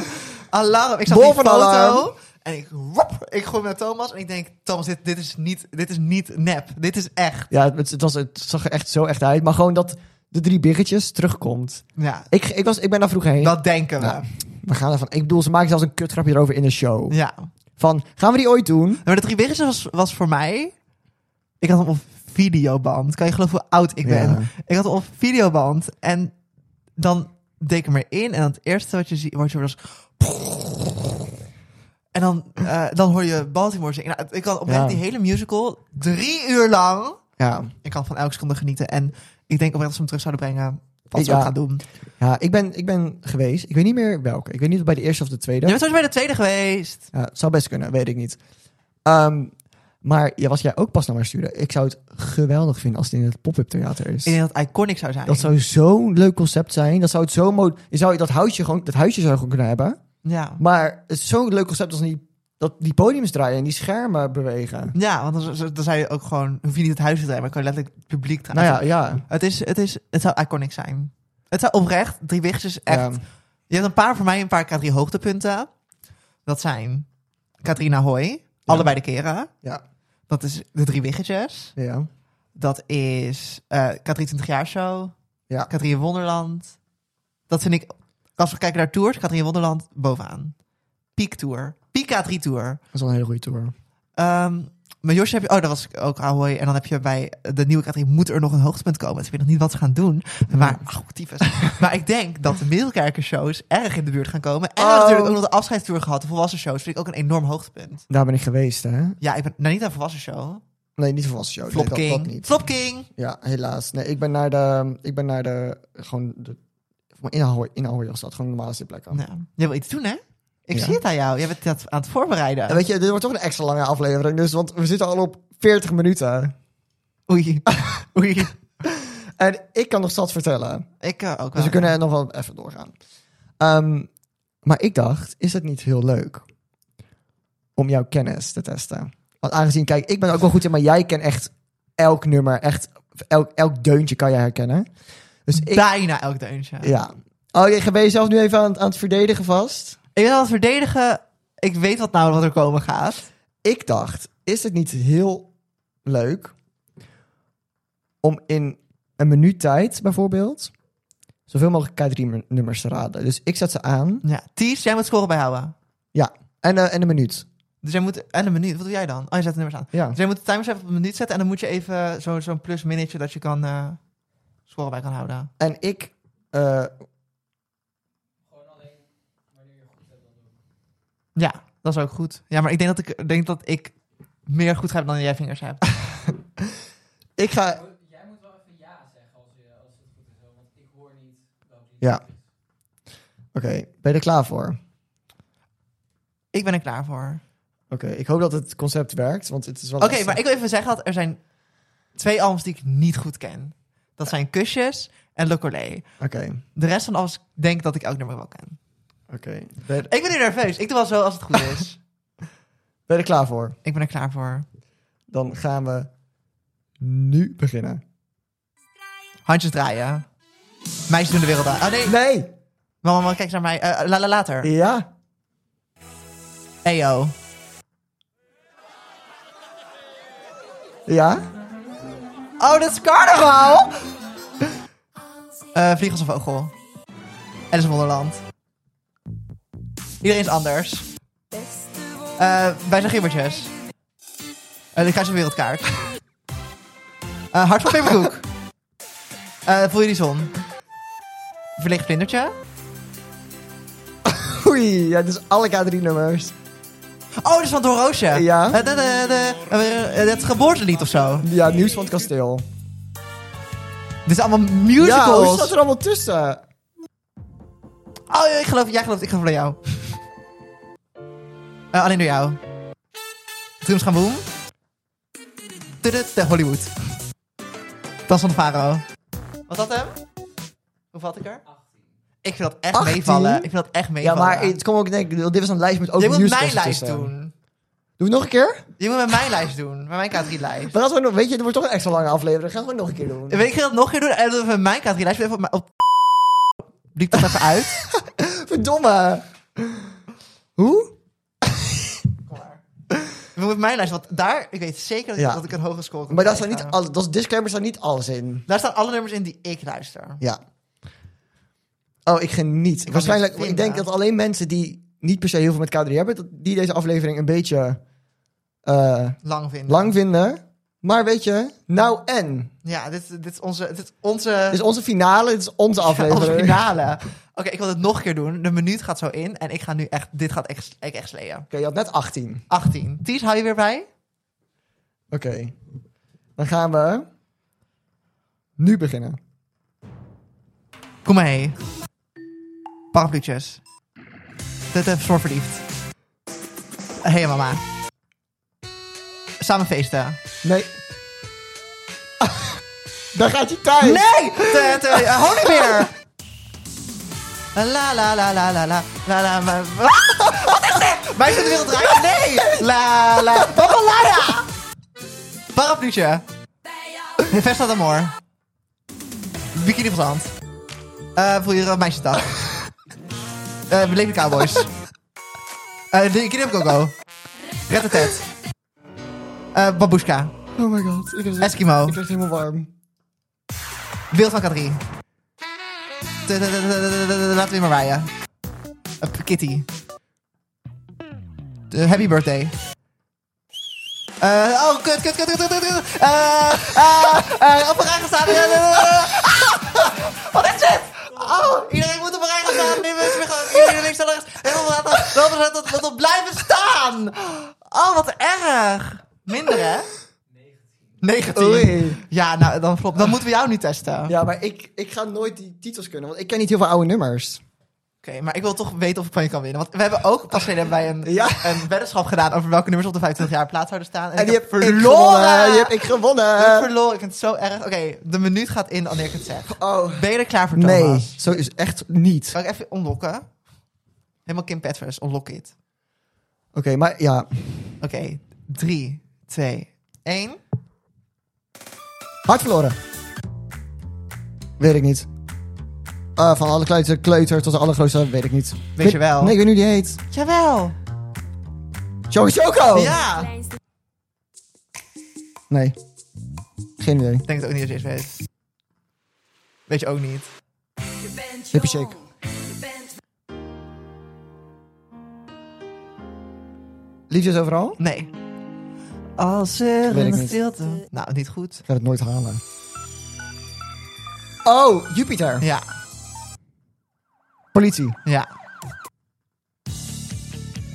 Speaker 1: Alarm. Ik zag
Speaker 2: Bol
Speaker 1: die
Speaker 2: van
Speaker 1: foto
Speaker 2: alarm.
Speaker 1: en ik, wop, ik gooi hem naar Thomas en ik denk, Thomas, dit, dit, is niet, dit is niet nep. Dit is echt.
Speaker 2: Ja, het, het was, het zag er echt zo echt uit. Maar gewoon dat de drie biggetjes terugkomt.
Speaker 1: Ja,
Speaker 2: Ik, ik, was, ik ben daar vroeger heen.
Speaker 1: dat denken we.
Speaker 2: Ja.
Speaker 1: Ja.
Speaker 2: We gaan ervan... Ik bedoel, ze maken zelfs een kutgrapje erover in de show. Van, gaan we die ooit doen?
Speaker 1: Maar de drie biggetjes was, was voor mij... Ik had hem op videoband. Kan je geloven hoe oud ik ben?
Speaker 2: Ja.
Speaker 1: Ik had hem op videoband en dan deed ik hem erin. En dan het eerste wat je ziet, wat je hoort was... En dan, eh, dan hoor je Baltimore zingen. Nou, ik had op
Speaker 2: Ja.
Speaker 1: die hele musical drie uur lang...
Speaker 2: Ja.
Speaker 1: ik kan van elke seconde genieten. En ik denk oprecht dat ze hem terug zouden brengen. Wat ze
Speaker 2: Ja.
Speaker 1: ook gaan doen.
Speaker 2: Ja, ik ben, ik ben geweest. Ik weet niet meer welke. Ik weet niet of bij de eerste of de tweede.
Speaker 1: Je bent sowieso bij de tweede geweest.
Speaker 2: Ja, het zou best kunnen, weet ik niet. Ehm, maar ja, was jij ook pas naar mij sturen? Ik zou het geweldig vinden als het in het pop-up theater is.
Speaker 1: Ik denk dat het iconic zou zijn.
Speaker 2: Dat zou zo'n leuk concept zijn. Dat zou het zo mooi. Je zou dat huisje gewoon, dat huisje zou je gewoon kunnen hebben.
Speaker 1: Ja.
Speaker 2: Maar het is zo'n leuk concept als die, dat die podiums draaien en die schermen bewegen.
Speaker 1: ja, want dan, dan- dan zou je ook gewoon... hoef je niet het huis te draaien, maar kan je letterlijk het publiek draaien.
Speaker 2: Nou ja, ja.
Speaker 1: het, is, het, is, het zou iconic zijn. Het zou oprecht, drie wichtjes is echt...
Speaker 2: Ja.
Speaker 1: Je hebt een paar voor mij, een paar K3 hoogtepunten. Dat zijn Katrina Hoy, allebei de keren.
Speaker 2: Ja.
Speaker 1: Dat is de drie wiggetjes.
Speaker 2: ja.
Speaker 1: Dat is eh Katrien 20 jaar show.
Speaker 2: Ja.
Speaker 1: Katrien in Wonderland. Dat vind ik, als we kijken naar tours, Katrien in Wonderland bovenaan. Peak tour. Peak K3 tour.
Speaker 2: Dat is wel een hele goede tour.
Speaker 1: Ehm maar Josje heb je, oh, dat was ook Ahoy. En dan heb je bij de nieuwe Katrien moet er nog een hoogtepunt komen. Dus ik weet nog niet wat ze gaan doen.
Speaker 2: Hmm.
Speaker 1: Maar, oh, tyfus.
Speaker 2: (laughs)
Speaker 1: maar ik denk dat de middelkerkershows erg in de buurt gaan komen. En we
Speaker 2: Oh.
Speaker 1: hebben natuurlijk ook nog de afscheidstour gehad. De volwassen shows vind ik ook een enorm hoogtepunt.
Speaker 2: Daar ben ik geweest, hè?
Speaker 1: Ja, ik ben nou, niet aan volwassen show.
Speaker 2: Nee, niet voor show.
Speaker 1: Flop
Speaker 2: nee, dat, dat
Speaker 1: King.
Speaker 2: niet.
Speaker 1: Flop King.
Speaker 2: Ja, helaas. Nee, ik ben naar de. Ik ben naar de. Gewoon. De, in Ahoy, in Ahoy was dat. Gewoon normale zitplekken.
Speaker 1: Nou, jij wil iets doen, hè? Ik
Speaker 2: Ja.
Speaker 1: zie het aan jou. Jij bent dat aan het voorbereiden.
Speaker 2: En weet je, dit wordt toch een extra lange aflevering. Dus, want we zitten al op 40 minuten. (laughs)
Speaker 1: Oei. Oei.
Speaker 2: En ik kan nog zat vertellen.
Speaker 1: Ik eh, ook wel.
Speaker 2: Dus we kunnen nog wel even doorgaan. Ehm, maar ik dacht, is het niet heel leuk om jouw kennis te testen? Want aangezien, kijk, ik ben ook wel goed in, maar jij kent echt elk nummer, echt elk, elk deuntje kan jij herkennen. Dus ik,
Speaker 1: Bijna elk deuntje.
Speaker 2: ja. Oh, je ben je zelf nu even aan, het- aan het verdedigen vast?
Speaker 1: Ik wil het verdedigen. Ik weet wat nou wat er komen gaat.
Speaker 2: ik dacht, is het niet heel leuk om in een minuut tijd bijvoorbeeld zoveel mogelijk K3-nummers te raden? Dus ik zet ze aan.
Speaker 1: Ja. Ties, jij moet scoren bijhouden.
Speaker 2: Ja, en, eh, en een minuut.
Speaker 1: Dus jij moet... En een minuut. Wat doe jij dan? Oh, je zet de nummers aan.
Speaker 2: Ja.
Speaker 1: Dus jij moet de timers even op een minuut zetten. En dan moet je even zo- zo'n plus-minnetje dat je kan... eh scoren bij kan houden.
Speaker 2: En ik... eh,
Speaker 1: Ja, dat is ook goed. Ja, maar ik denk dat ik, denk dat ik meer goed heb dan jij vingers hebt.
Speaker 2: ik ga...
Speaker 4: Jij moet wel even ja zeggen als, je, als het goed is, hoor, want ik hoor niet welke lied
Speaker 2: Ja.
Speaker 4: het is.
Speaker 2: Oké, ben je er klaar voor?
Speaker 1: Ik ben er klaar voor.
Speaker 2: Oké, ik hoop dat het concept werkt, want het is wel...
Speaker 1: Oké,
Speaker 2: lastig.
Speaker 1: maar ik wil even zeggen dat er zijn twee albums die ik niet goed ken. Dat zijn Kusjes en Le Collet.
Speaker 2: Oké,
Speaker 1: De rest van de albums denk ik dat ik elk nummer wel ken.
Speaker 2: oké. Ben je- (laughs)
Speaker 1: Ik ben nu nerveus. Ik doe wel zo als het goed is.
Speaker 2: Ben je er klaar voor?
Speaker 1: Ik ben er klaar voor.
Speaker 2: Dan gaan we nu beginnen.
Speaker 1: Handjes draaien. Meisjes doen de wereld aan. Oh nee,
Speaker 2: Nee!
Speaker 1: mama, mama, kijk eens naar mij. Eh, la la later.
Speaker 2: Ja?
Speaker 1: Eyo.
Speaker 2: Ja?
Speaker 1: Oh, dat is carnaval! Eh vlieg als een vogel. Alice in Wonderland. Iedereen is anders. Eh, wij zijn gibbertjes. Eh de kruis op wereldkaart. (laughs) Eh hart van peperkoek. Eh, voel je die zon? Verlicht vlindertje.
Speaker 2: Oei, ja, dus alle K3-nummers.
Speaker 1: Oh, dat is van Don Roosje.
Speaker 2: Ja.
Speaker 1: Eh, da- da- da- eh, eh, Het geboortelied of zo.
Speaker 2: Ja, Nieuws van het Kasteel.
Speaker 1: Dit zijn allemaal
Speaker 2: Ja, oh, hoe
Speaker 1: musicals.
Speaker 2: staat er allemaal tussen?
Speaker 1: Oh, ja, ik geloof, jij gelooft, ik geloof naar jou. Eh, alleen door jou. Drums gaan boom. Tudut, de Hollywood. Tas van de Faro. Was dat hem? Hoe vat ik er? Ik vind dat echt
Speaker 2: 18?
Speaker 1: meevallen. Ik vind dat echt
Speaker 2: Ja,
Speaker 1: meevallen.
Speaker 2: maar het komt ook, denk ik, dit was een lijst met ook
Speaker 1: Je moet
Speaker 2: musicals
Speaker 1: mijn lijst
Speaker 2: ertussen.
Speaker 1: doen.
Speaker 2: Doen we nog een keer?
Speaker 1: Je moet met mijn lijst doen. Met mijn K3-lijst.
Speaker 2: Maar als we nog, weet je, het wordt toch een extra lange aflevering. Gaan we het nog een keer doen.
Speaker 1: Weet ik ga dat nog een keer doen? En dat we met mijn K3-lijst even op... mijn- op Liep dat even
Speaker 2: (laughs)
Speaker 1: uit.
Speaker 2: Verdomme. Hoe?
Speaker 1: We moeten mijn lijst, want daar... Ik weet zeker dat, ik-
Speaker 2: Ja.
Speaker 1: dat ik een hoge score kan
Speaker 2: Maar daar staan niet
Speaker 1: krijgen.
Speaker 2: alles, dat is disclaimer staat niet alles in.
Speaker 1: Daar staan alle nummers in die ik luister.
Speaker 2: Ja. Oh, ik geniet. Waarschijnlijk,
Speaker 1: niks
Speaker 2: ik
Speaker 1: vinden.
Speaker 2: denk dat alleen mensen die niet per se heel veel met K3 hebben, dat die deze aflevering een beetje eh,
Speaker 1: Lang vinden.
Speaker 2: lang vinden. Maar weet je, nou en.
Speaker 1: Ja, dit, dit is onze... Dit is onze...
Speaker 2: Dit is onze finale, dit is onze
Speaker 1: (laughs)
Speaker 2: aflevering.
Speaker 1: Als finale. Oké, ik wil het nog een keer doen. De minuut gaat zo in. En ik ga nu echt... Dit gaat echt, ik echt sleeën.
Speaker 2: Oké, je had net 18.
Speaker 1: 18. Ties, hou je weer bij?
Speaker 2: Oké. Dan gaan we nu beginnen.
Speaker 1: Kom maar heen. Parapluutjes. Dit even soort verliefd. Hé hey, mama. Samen feesten.
Speaker 2: Nee. (laughs) Daar gaat je tijd.
Speaker 1: Nee! Te- te- eh, Hou niet meer! La la la la la la la la ma- Wat is dit? Wij zijn de wereld draait. Nee! La la Babalaya! Parapluutje. Vesta d'amor. Bikini van zand. Eh voel je er een meisje dag. Eh Beleefde cowboys. Eh de Kid Coco. Rettetet. Eh Babushka.
Speaker 2: Oh my god. Ik heb
Speaker 1: Eskimo.
Speaker 2: Ik werd helemaal warm.
Speaker 1: Beeld van K3. Laten we maar rijden. Eh, Kitty. Eh, happy birthday. Eh, oh, kut, kut, kut, kut, kut, kut, kut. Eh, eh, eh, op een rij gaan staan. Eh, eh, eh, ah! Wat is dit? Oh, iedereen moet op een rij gaan staan. Nee, mensen, we gaan- Iedereen links en rechts. Helemaal laten. Laten we dat- dat we blijven staan. Oh, wat erg. Minder, hè? 19.
Speaker 2: Oei.
Speaker 1: Ja, nou, dan klopt. Dan moeten we jou nu testen.
Speaker 2: Ja, maar ik, ik ga nooit die titels kunnen, want ik ken niet heel veel oude nummers.
Speaker 1: Oké, maar ik wil toch weten of ik van je kan winnen. Want we hebben ook pas geleden hebben wij een,
Speaker 2: Ja.
Speaker 1: een weddenschap gedaan over welke nummers op de 25 jaar plaatshouder staan. En,
Speaker 2: En
Speaker 1: ik
Speaker 2: die
Speaker 1: heb
Speaker 2: heb ik
Speaker 1: verloren!
Speaker 2: gewonnen. Die heb ik gewonnen.
Speaker 1: Ik heb verloren. Ik vind het zo erg. Oké, de minuut gaat in wanneer ik het zeg.
Speaker 2: Oh.
Speaker 1: Ben je er klaar voor, Thomas?
Speaker 2: Nee, zo is echt niet. Oké,
Speaker 1: Kan ik even onlokken? Helemaal Kim Petras, unlock it.
Speaker 2: maar ja.
Speaker 1: Oké, 3, 2, 1.
Speaker 2: Hard verloren. Weet ik niet. Eh, van alle kleuter, kleuter tot de allergrootste, weet ik niet. Weet,
Speaker 1: je wel.
Speaker 2: Nee, ik weet nu die heet.
Speaker 1: Jawel!
Speaker 2: Choco Choco!
Speaker 1: Ja!
Speaker 2: Nee. Geen idee.
Speaker 1: Ik denk het ook niet als je het eerst weet. Weet je ook niet.
Speaker 2: Hippie shake. Liefjes overal?
Speaker 1: Nee. Als er
Speaker 2: Weet ik
Speaker 1: een
Speaker 2: niet.
Speaker 1: stilte... Nou, niet goed.
Speaker 2: Ik ga het nooit halen. Oh, Jupiter.
Speaker 1: Ja,
Speaker 2: Politie.
Speaker 1: ja.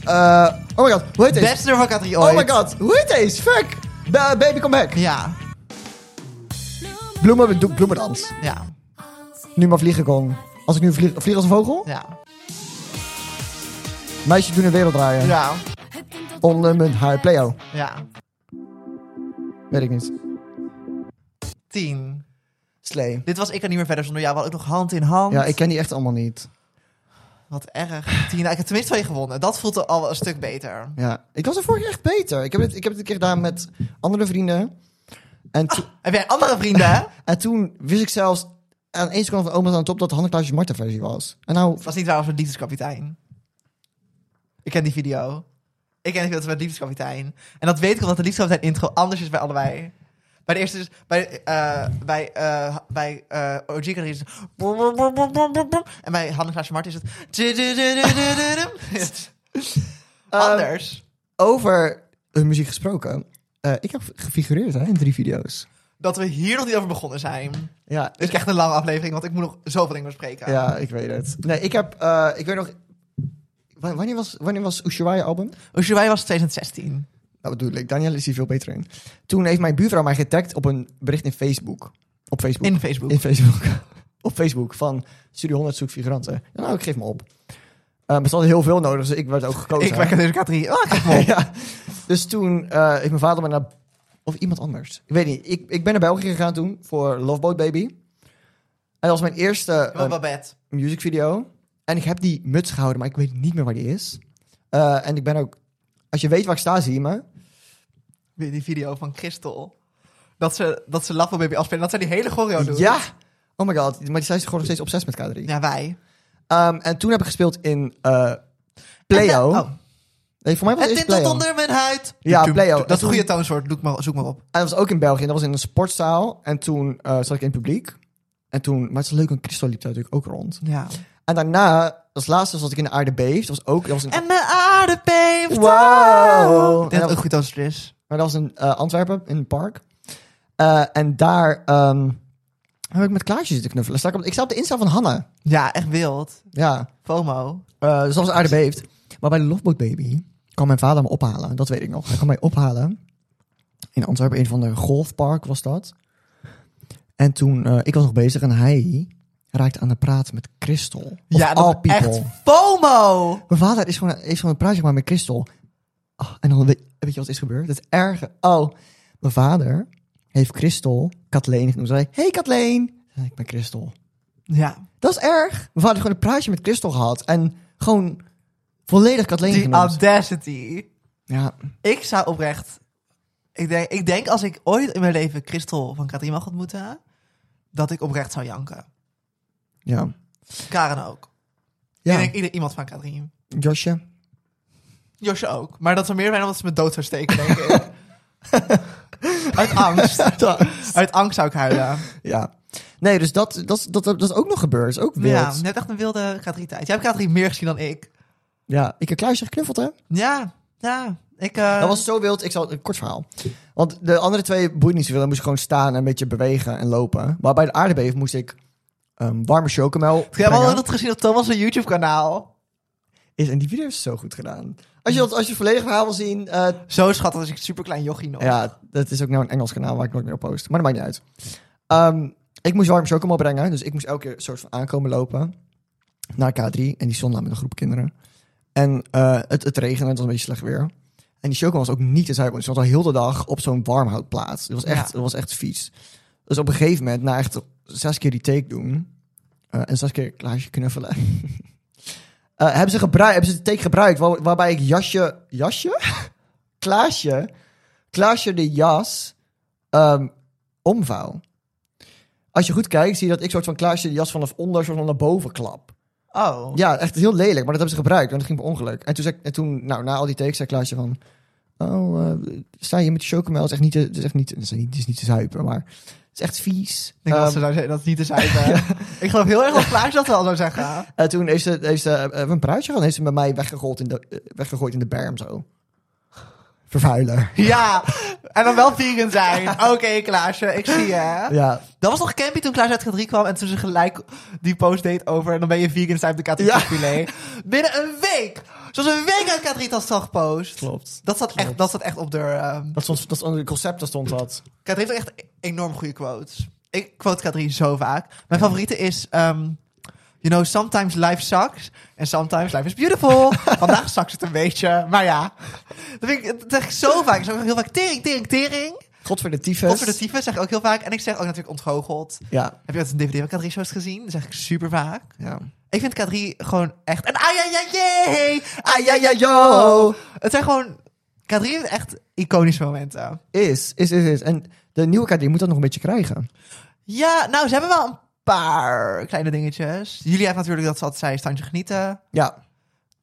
Speaker 2: Eh, oh my god, hoe heet deze?
Speaker 1: Bachelor van Katrie
Speaker 2: Oh
Speaker 1: ooit.
Speaker 2: my god, hoe heet deze? Fuck! Ba- baby, come back.
Speaker 1: Ja,
Speaker 2: Bloemen, do- bloemendans.
Speaker 1: ja,
Speaker 2: Nu maar vliegen kon. Als ik nu vlieg, vlieg als een vogel?
Speaker 1: ja.
Speaker 2: Meisje doen een wereld draaien.
Speaker 1: Ja,
Speaker 2: Onder mijn haar. Playo.
Speaker 1: ja.
Speaker 2: Weet ik niet.
Speaker 1: Tien.
Speaker 2: Slee.
Speaker 1: Dit was Ik kan niet meer verder zonder jou. We hadden ook nog hand in hand.
Speaker 2: Ja, ik ken die echt allemaal niet.
Speaker 1: Wat erg. Tina, ik heb tenminste twee gewonnen. Dat voelt al een stuk beter.
Speaker 2: Ja, ik was er vorig jaar echt beter. Ik heb het, ik heb het een keer gedaan met andere vrienden. En, to-
Speaker 1: Heb jij andere vrienden?
Speaker 2: (laughs)
Speaker 1: hè?
Speaker 2: en toen wist ik zelfs aan één seconde van oma aan top dat de Hanneklaasje Marta versie was. En nou,
Speaker 1: Het was niet waar we liefdeskapitein. Ik ken die video. Ik ken die video van liefdeskapitein. En dat weet ik omdat de liefdeskapitein intro anders is bij allebei. Bij de eerste is bij eh bij eh bij eh OG kan het is en bij Hanne Klaasje Mart is
Speaker 2: (laughs)
Speaker 1: het
Speaker 2: eh, Ehm.
Speaker 1: anders.
Speaker 2: over hun muziek gesproken. eh, ik heb gefigureerd hè, in drie video's.
Speaker 1: Dat we hier nog niet over begonnen zijn. Dit
Speaker 2: Ja,
Speaker 1: is echt een lange aflevering, want ik moet nog zoveel dingen bespreken.
Speaker 2: ja, ik weet het. Nee, ik heb, eh, ik weet nog... wa- Wanneer was, wanneer was Ushuaia album?
Speaker 1: Ushuaia was 2016.
Speaker 2: Nou, bedoel ik. Daniel is hier veel beter in. Toen heeft mijn buurvrouw mij getagd op een bericht in Facebook. Op Facebook.
Speaker 1: In Facebook.
Speaker 2: In Facebook. (laughs) op Facebook van Studio 100 zoek figuranten. Ja, nou, ik geef me op. Eh maar ze hadden heel veel nodig, dus ik werd ook gekozen.
Speaker 1: Ik werk in deze categorie. Oh, kijk maar op.
Speaker 2: ja. Dus toen eh heeft mijn vader me naar... Of iemand anders. Ik weet niet. Ik, ik ben naar België gegaan toen voor Love Boat Baby. En dat was mijn eerste... (laughs)
Speaker 1: Wat
Speaker 2: eh,
Speaker 1: Babette.
Speaker 2: music video. En ik heb die muts gehouden, maar ik weet niet meer waar die is. Eh, en ik ben ook... Als je weet waar ik sta, zie je me.
Speaker 1: Weer die video van Christel. Dat ze, dat ze Love Baby afspelen. Dat zij die hele choreo doen.
Speaker 2: Ja! Oh my god. Maar die zijn gewoon nog steeds obsessief met K3.
Speaker 1: Ja, wij.
Speaker 2: Ehm, en toen heb ik gespeeld in eh Playo.
Speaker 1: En, de- oh,
Speaker 2: Nee, voor mij was
Speaker 1: het
Speaker 2: het eerst
Speaker 1: tintelt
Speaker 2: Playo.
Speaker 1: onder mijn huid.
Speaker 2: Ja,
Speaker 1: Doe-
Speaker 2: Play-Doh.
Speaker 1: doe- Dat is een
Speaker 2: En
Speaker 1: goede toonsoort. Doe ik maar, zoek maar op.
Speaker 2: En dat was ook in België. En dat was in een sportzaal. En toen eh, zat ik in het publiek. En toen... Maar het is leuk, een Christel liep daar natuurlijk ook rond.
Speaker 1: Ja.
Speaker 2: En daarna, als laatste, zat ik in de aarde beeft. Dat was ook... Dat was een,
Speaker 1: En mijn aarde beeft.
Speaker 2: Wow.
Speaker 1: Ik denk dat het ook goed toonsoort is.
Speaker 2: Maar dat was in eh, Antwerpen, in een park. Eh, en daar ehm, heb ik met Klaasje zitten knuffelen. Sta ik, op, ik sta op de Insta van Hanna.
Speaker 1: Ja, echt wild.
Speaker 2: Ja,
Speaker 1: FOMO.
Speaker 2: Eh, dus dat was aardig beeft. Maar bij de Loveboat Baby kwam mijn vader me ophalen. Dat weet ik nog. Hij kwam mij ophalen. In Antwerpen, een van de golfpark was dat. En toen, eh, ik was nog bezig en hij raakte aan de praat met Christel. Of
Speaker 1: ja, dat
Speaker 2: all
Speaker 1: is
Speaker 2: people.
Speaker 1: echt FOMO.
Speaker 2: Mijn vader is gewoon, heeft gewoon een praatje gemaakt met Christel. Ah, en dan weet, weet je wat is gebeurd? Het erge. Oh, mijn vader heeft Christel Kathleen genoemd. Zei, hij, hey Kathleen. Zei, Ik ben Christel.
Speaker 1: Ja.
Speaker 2: Dat is erg. Mijn vader heeft gewoon een praatje met Christel gehad. En gewoon volledig Kathleen
Speaker 1: Die
Speaker 2: genoemd.
Speaker 1: audacity.
Speaker 2: Ja,
Speaker 1: Ik zou oprecht... Ik denk, ik denk als ik ooit in mijn leven Christel van Katrien mag ontmoeten... dat ik oprecht zou janken.
Speaker 2: ja.
Speaker 1: Karen ook. Ik
Speaker 2: Ja,
Speaker 1: denk ieder, iemand van Katrien.
Speaker 2: Josje.
Speaker 1: Josje ook. Maar dat zou meer zijn omdat ze me dood zou steken, denk ik.
Speaker 2: (laughs)
Speaker 1: Uit angst. Uit angst zou ik huilen.
Speaker 2: ja. Nee, dus dat, dat, is- dat, dat, is ook nog gebeurd. Dat is ook wild.
Speaker 1: Ja,
Speaker 2: Ja,
Speaker 1: net echt een wilde K3-tijd. Jij hebt K3 meer gezien dan ik.
Speaker 2: ik heb Kluisje geknuffeld, hè?
Speaker 1: Ja, ja. Ik, eh,
Speaker 2: Dat was zo wild. Ik zal een kort verhaal. Want de andere twee boeien niet zoveel. Dan moest ik gewoon staan en een beetje bewegen en lopen. Maar bij de aardbeving moest ik ehm, warme chocomel.
Speaker 1: Ik heb al
Speaker 2: brengen.
Speaker 1: dat gezien op Thomas' YouTube-kanaal.
Speaker 2: Is, en die video is zo goed gedaan. Als je, dat, als je het volledige verhaal wil zien. eh,
Speaker 1: Zo schattig als ik super klein jochie nog.
Speaker 2: ja, dat is ook nou een Engels kanaal waar ik nooit meer op post. Maar dat maakt niet uit. Ehm, ik moest warme chocomel brengen. Dus ik moest elke keer een soort van aankomen lopen. Naar K3. En die stond daar met een groep kinderen. En eh, het, het regende. Het was een beetje slecht weer. En die chocomel was ook niet in Zuidpoort. Ze was al heel de dag op zo'n warmhoutplaats. Dat was echt,
Speaker 1: Ja.
Speaker 2: dat was echt vies. Dus op een gegeven moment, na echt zes keer die take doen... eh, en zes keer Klaasje knuffelen... (laughs) eh, hebben, ze gebruikt, hebben ze de take gebruikt waar- waarbij ik jasje... Jasje? (laughs) Klaasje? Klaasje de jas ehm, omvouw. Als je goed kijkt, zie je dat ik soort van Klaasje de jas vanaf onder... soort van naar boven klap.
Speaker 1: Oh.
Speaker 2: Ja, echt heel lelijk. Maar dat hebben ze gebruikt, want dat ging per ongeluk. En toen, zei, en toen nou, na al die takes, zei Klaasje van... Oh, eh, sta je met de chocomel? Het is echt niet te, het is echt niet, het is niet, het is niet te zuipen, maar het is echt vies.
Speaker 1: Ik denk dat
Speaker 2: Ehm,
Speaker 1: ze zou zeggen, dat is niet te zijn.
Speaker 2: (laughs)
Speaker 1: Ik geloof heel erg dat Klaas dat wel zou zeggen.
Speaker 2: en toen heeft ze, heeft ze eh, hebben we een praatje gehad en heeft ze met mij weggerold in de, eh, weggegooid in de berm zo. Vervuiler.
Speaker 1: Ja, en dan wel vegan zijn. Oké, Klaasje, ik zie je.
Speaker 2: Ja.
Speaker 1: Dat was nog campy toen Klaas uit K3 kwam en toen ze gelijk die post deed over en dan ben je vegan zijn op de K3
Speaker 2: Ja.
Speaker 1: filet. Binnen een week! Zoals een week uit K3 dat zag post.
Speaker 2: Klopt.
Speaker 1: Dat zat echt, dat zat echt op de... ehm
Speaker 2: Dat stond, dat stond het concept, dat stond dat.
Speaker 1: K3 heeft echt enorm goede quotes. Ik quote K3 zo vaak. Mijn favoriete is... ehm, you know, sometimes life sucks and sometimes life is
Speaker 2: (laughs)
Speaker 1: beautiful. Vandaag sucks het een beetje, maar ja. Dat vind ik, dat zeg ik zo vaak. Ik zeg ook heel vaak tering, tering, tering.
Speaker 2: God voor de tyfus.
Speaker 1: Conservatieve zeg ik ook heel vaak. En ik zeg ook natuurlijk ontgoocheld.
Speaker 2: Ja,
Speaker 1: Heb je dat een DVD van K3 shows gezien? Dat zeg ik super vaak.
Speaker 2: ja.
Speaker 1: Ik vind K3 gewoon echt... En ajajajee!
Speaker 2: Yo!
Speaker 1: Ajajajo! Het zijn gewoon... K3 heeft echt iconische momenten.
Speaker 2: Is, is, is, is. En de nieuwe KD moet dat nog een beetje krijgen.
Speaker 1: Ja, nou, ze hebben wel een paar kleine dingetjes. Jullie hebben natuurlijk dat ze altijd zei, standje genieten.
Speaker 2: Ja,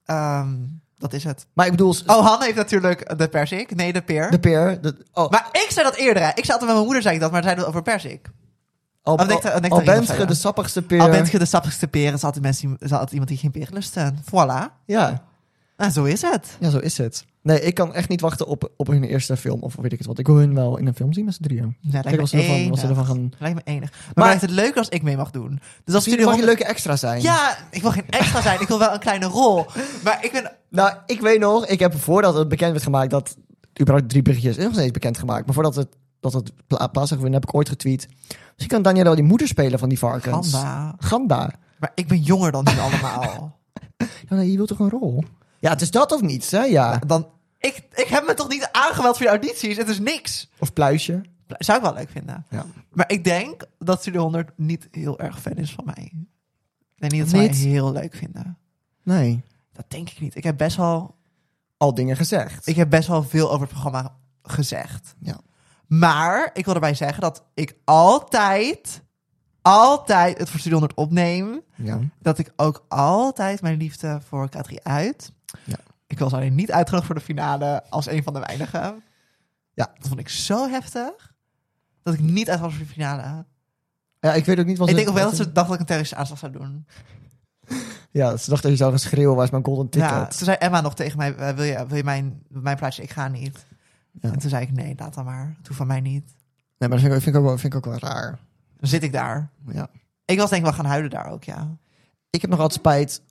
Speaker 1: Ehm, dat is het.
Speaker 2: maar ik bedoel... s-
Speaker 1: Oh, Hanne heeft natuurlijk de persik. Nee, de peer.
Speaker 2: De peer. De, oh,
Speaker 1: Maar ik zei dat eerder, hè. Ik zei altijd met mijn moeder, zei ik dat, maar zeiden we over persik.
Speaker 2: al,
Speaker 1: al denkt- al
Speaker 2: al,
Speaker 1: denkt
Speaker 2: al
Speaker 1: er iemand
Speaker 2: bent
Speaker 1: van,
Speaker 2: je
Speaker 1: ja.
Speaker 2: de sappigste peer.
Speaker 1: Al bent je de sappigste peer, is altijd, mensen, is altijd iemand die geen peer lust heeft. Voilà.
Speaker 2: ja.
Speaker 1: Nou, zo is het.
Speaker 2: ja, zo is het. Nee, ik kan echt niet wachten op, op hun eerste film of weet ik het wat. Ik wil hun wel in een film zien met z'n drieën.
Speaker 1: Nee,
Speaker 2: Kijk wat
Speaker 1: lijkt
Speaker 2: ze,
Speaker 1: me
Speaker 2: ervan, wat
Speaker 1: enig.
Speaker 2: ze ervan gaan...
Speaker 1: Lijkt me enig. Maar,
Speaker 2: Maar-
Speaker 1: mij lijkt het leuk als ik mee mag doen. Dus als jullie...
Speaker 2: mag je
Speaker 1: honderd-
Speaker 2: leuke extra zijn.
Speaker 1: Ja, ik wil geen extra zijn. Ik wil wel een kleine rol. Maar ik ben...
Speaker 2: Nou, ik weet nog, ik heb voordat het bekend werd gemaakt dat überhaupt drie berichtjes is nog steeds bekend gemaakt. Maar voordat het, dat het pla plaats zou vinden, heb ik ooit getweet. Misschien kan Daniela wel die moeder spelen van die varkens.
Speaker 1: Gamba.
Speaker 2: Ganda.
Speaker 1: Maar ik ben jonger dan jullie allemaal.
Speaker 2: Ja, nee, je wilt toch een rol? Ja, het is dat of niets, hè? (laughs) Ja.
Speaker 1: Nou, dan, ik, ik heb me toch niet aangemeld voor die audities? Het is niks.
Speaker 2: Of pluisje.
Speaker 1: Zou ik wel leuk vinden.
Speaker 2: Ja.
Speaker 1: Maar ik denk dat Studio 100 niet heel erg fan is van mij. Ik denk niet dat ze
Speaker 2: Niet?
Speaker 1: mij heel leuk vinden.
Speaker 2: Nee.
Speaker 1: Dat denk ik niet. Ik heb best wel,
Speaker 2: Al dingen gezegd.
Speaker 1: ik heb best wel veel over het programma gezegd.
Speaker 2: Ja.
Speaker 1: Maar ik wil erbij zeggen dat ik altijd, altijd het voor Studio 100 opneem.
Speaker 2: Ja.
Speaker 1: Dat ik ook altijd mijn liefde voor K3 uit.
Speaker 2: Ja.
Speaker 1: Ik was alleen niet uitgenodigd voor de finale als een van de weinigen.
Speaker 2: Ja.
Speaker 1: Dat vond ik zo heftig. Dat ik niet uit was voor de finale.
Speaker 2: ja, ik weet ook niet wat
Speaker 1: ik
Speaker 2: ze-
Speaker 1: denk ook wel dat
Speaker 2: wat
Speaker 1: ze dacht dat ik een terroristische aanslag zou doen.
Speaker 2: Ja, ze dachten dat je zou gaan schreeuwen, waar is mijn golden ticket?
Speaker 1: Ja, toen zei Emma nog tegen mij, eh, wil je, wil je mijn, mijn plaatsje? Ik ga niet.
Speaker 2: Ja.
Speaker 1: En toen zei ik, nee, laat dan maar. Het hoeft van mij niet.
Speaker 2: Nee, maar dat vind ik, vind ik ook, wel- vind ik ook wel raar.
Speaker 1: Dan zit ik daar.
Speaker 2: Ja.
Speaker 1: Ik was denk ik wel gaan huilen daar ook, ja.
Speaker 2: Ik heb nog altijd spijt.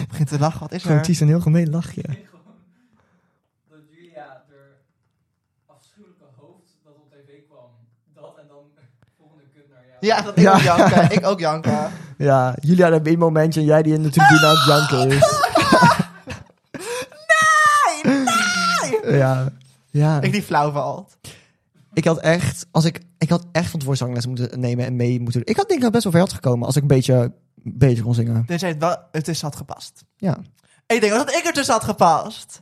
Speaker 1: Ik begin te lachen, wat is
Speaker 2: Gewoon,
Speaker 1: er?
Speaker 2: Ties, een heel gemeen lachje.
Speaker 4: Dat Julia er afschuwelijke hoofd dat op tv kwam, dat en dan (laughs) volgende kut naar jou.
Speaker 1: Ja, dat ik
Speaker 2: Ja.
Speaker 1: ook janken. Ik ook janken.
Speaker 2: Ja, Julia dat één momentje en jij die in de tribune aan het janken
Speaker 1: (laughs)
Speaker 2: is.
Speaker 1: Nee, nee!
Speaker 2: Ja. Ja.
Speaker 1: Ik
Speaker 2: Ik,
Speaker 1: die flauw valt.
Speaker 2: had echt, als ik, ik had echt van tevoren zangles moeten nemen en mee moeten doen. Ik had denk ik wel best wel ver had gekomen als ik een beetje, een beetje kon zingen.
Speaker 1: Dus het wel het tussen had gepast.
Speaker 2: Ja.
Speaker 1: Ik denk ook dat ik er tussen had gepast.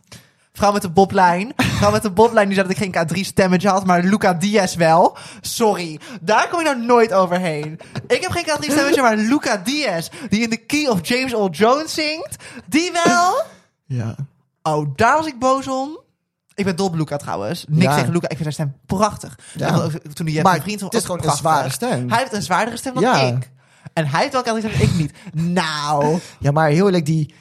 Speaker 1: Vrouw met de boblijn. Vrouw met de boblijn die zei dat ik geen K3 stemmetje had, maar Luca Diaz wel. Sorry, daar kom ik nou nooit overheen. Ik heb geen K3 stemmetje, maar Luca Diaz, die in de key of James Earl Jones zingt, die wel.
Speaker 2: Ja.
Speaker 1: Oh, daar was ik boos om. Ik ben dol op Luca trouwens. Niks
Speaker 2: Ja.
Speaker 1: tegen Luca, ik vind zijn stem prachtig.
Speaker 2: Ja.
Speaker 1: Ik vond ook Toen hij
Speaker 2: Maar
Speaker 1: mijn vriend
Speaker 2: het is
Speaker 1: ook
Speaker 2: gewoon een
Speaker 1: prachtig.
Speaker 2: zware stem.
Speaker 1: Hij heeft een zwaardere stem dan
Speaker 2: Ja.
Speaker 1: ik. En hij heeft wel K3 stem, ik niet. (laughs) Nou,
Speaker 2: Ja, maar heel eerlijk, die,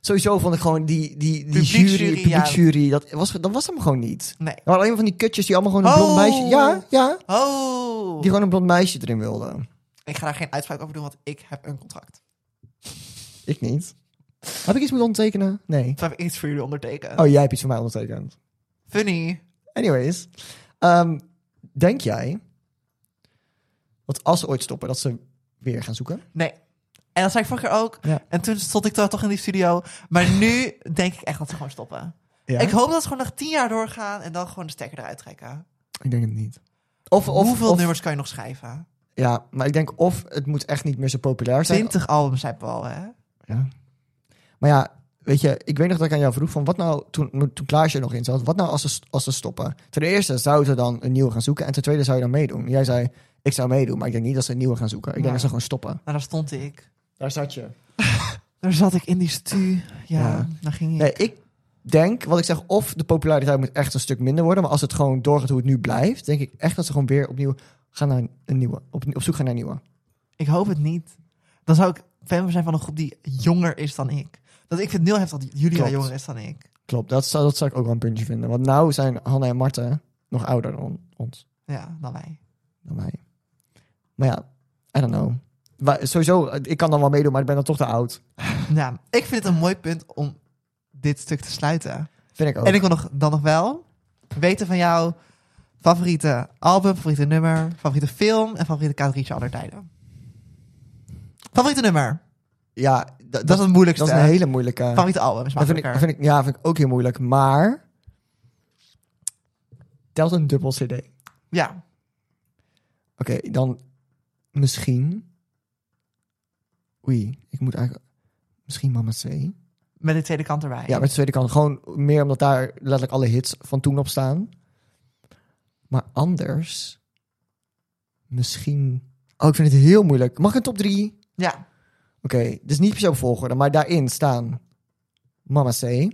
Speaker 2: sowieso vond ik gewoon die, die, die
Speaker 1: Publieksjury,
Speaker 2: jury,
Speaker 1: ja.
Speaker 2: publieksjury, dat was, dat was hem gewoon niet. (laughs)
Speaker 1: nee.
Speaker 2: Er waren alleen maar van die kutjes die allemaal gewoon een
Speaker 1: Oh.
Speaker 2: blond meisje, ja, ja,
Speaker 1: Oh.
Speaker 2: die gewoon een blond meisje erin wilden.
Speaker 1: Ik ga daar geen uitspraak over doen, want ik heb een contract.
Speaker 2: Ik niet. Heb ik iets moeten ondertekenen? Nee.
Speaker 1: Toen heb ik iets voor jullie ondertekend.
Speaker 2: Oh, jij hebt iets voor mij ondertekend.
Speaker 1: Funny.
Speaker 2: Anyways, ehm, denk jij dat als ze ooit stoppen, dat ze weer gaan zoeken?
Speaker 1: Nee. En dat zei ik vorige keer ook.
Speaker 2: Ja.
Speaker 1: En toen stond ik daar toch in die studio.
Speaker 2: (laughs)
Speaker 1: Maar nu denk ik echt dat ze gewoon stoppen. Ik hoop dat ze gewoon nog tien jaar doorgaan en dan gewoon de stekker eruit trekken.
Speaker 2: Ik denk het niet. Of, of,
Speaker 1: Hoeveel
Speaker 2: of-
Speaker 1: nummers kan je nog schrijven?
Speaker 2: Ja, maar ik denk of het moet echt niet meer zo populair zijn.
Speaker 1: Twintig albums hebben we al, hè?
Speaker 2: Ja. Maar ja, weet je, ik weet nog dat ik aan jou vroeg van wat nou toen, toen Klaasje er nog in zat. Wat nou als ze, als ze stoppen? Ten eerste zou ze dan een nieuwe gaan zoeken en ten tweede zou je dan meedoen. Jij zei, ik zou meedoen, maar ik denk niet dat ze een nieuwe gaan zoeken. Ik denk
Speaker 1: Nee.
Speaker 2: dat ze gewoon stoppen.
Speaker 1: Nou, daar stond ik.
Speaker 2: Daar zat je.
Speaker 1: Daar zat ik in die stu. Ja,
Speaker 2: Ja.
Speaker 1: daar ging ik.
Speaker 2: Nee, ik denk, wat ik zeg, of de populariteit moet echt een stuk minder worden. Maar als het gewoon doorgaat hoe het nu blijft, denk ik echt dat ze gewoon weer opnieuw gaan naar een nieuwe. Op, op zoek gaan naar een nieuwe.
Speaker 1: Ik hoop het niet. Dan zou ik fan zijn van een groep die jonger is dan ik. Dat ik vind het heel heftig dat Julia
Speaker 2: Klopt.
Speaker 1: jonger is dan ik.
Speaker 2: Klopt, dat zou, dat zou ik ook wel een puntje vinden. Want nou zijn Hanna en Marten nog ouder dan ons,
Speaker 1: Ja, dan wij.
Speaker 2: dan wij. Maar ja, I don't know. Wij- sowieso, ik kan dan wel meedoen, maar ik ben dan toch te oud.
Speaker 1: Nou, ik vind het een mooi punt om dit stuk te sluiten.
Speaker 2: Vind ik ook.
Speaker 1: En ik wil nog, dan nog wel weten van jou favoriete album, favoriete nummer, favoriete film en favoriete K3 aller tijden. Favoriete nummer,
Speaker 2: ja, da- dat,
Speaker 1: dat is het moeilijkste.
Speaker 2: dat is een hele moeilijke.
Speaker 1: Favoriete album is
Speaker 2: Dat vind ik,
Speaker 1: makkelijker.
Speaker 2: vind ik, ja, vind ik ook heel moeilijk. Maar Telt een dubbel CD. Oké,
Speaker 1: Ja.
Speaker 2: dan misschien. Oei, ik moet eigenlijk. Misschien Mama C.
Speaker 1: Met de tweede kant erbij.
Speaker 2: Ja, met de tweede kant. Gewoon meer omdat daar letterlijk alle hits van toen op staan. Maar anders. Misschien. Oh, ik vind het heel moeilijk. Mag ik een top 3?
Speaker 1: Ja.
Speaker 2: Oké, dus niet per se op volgorde, maar daarin staan Mama C.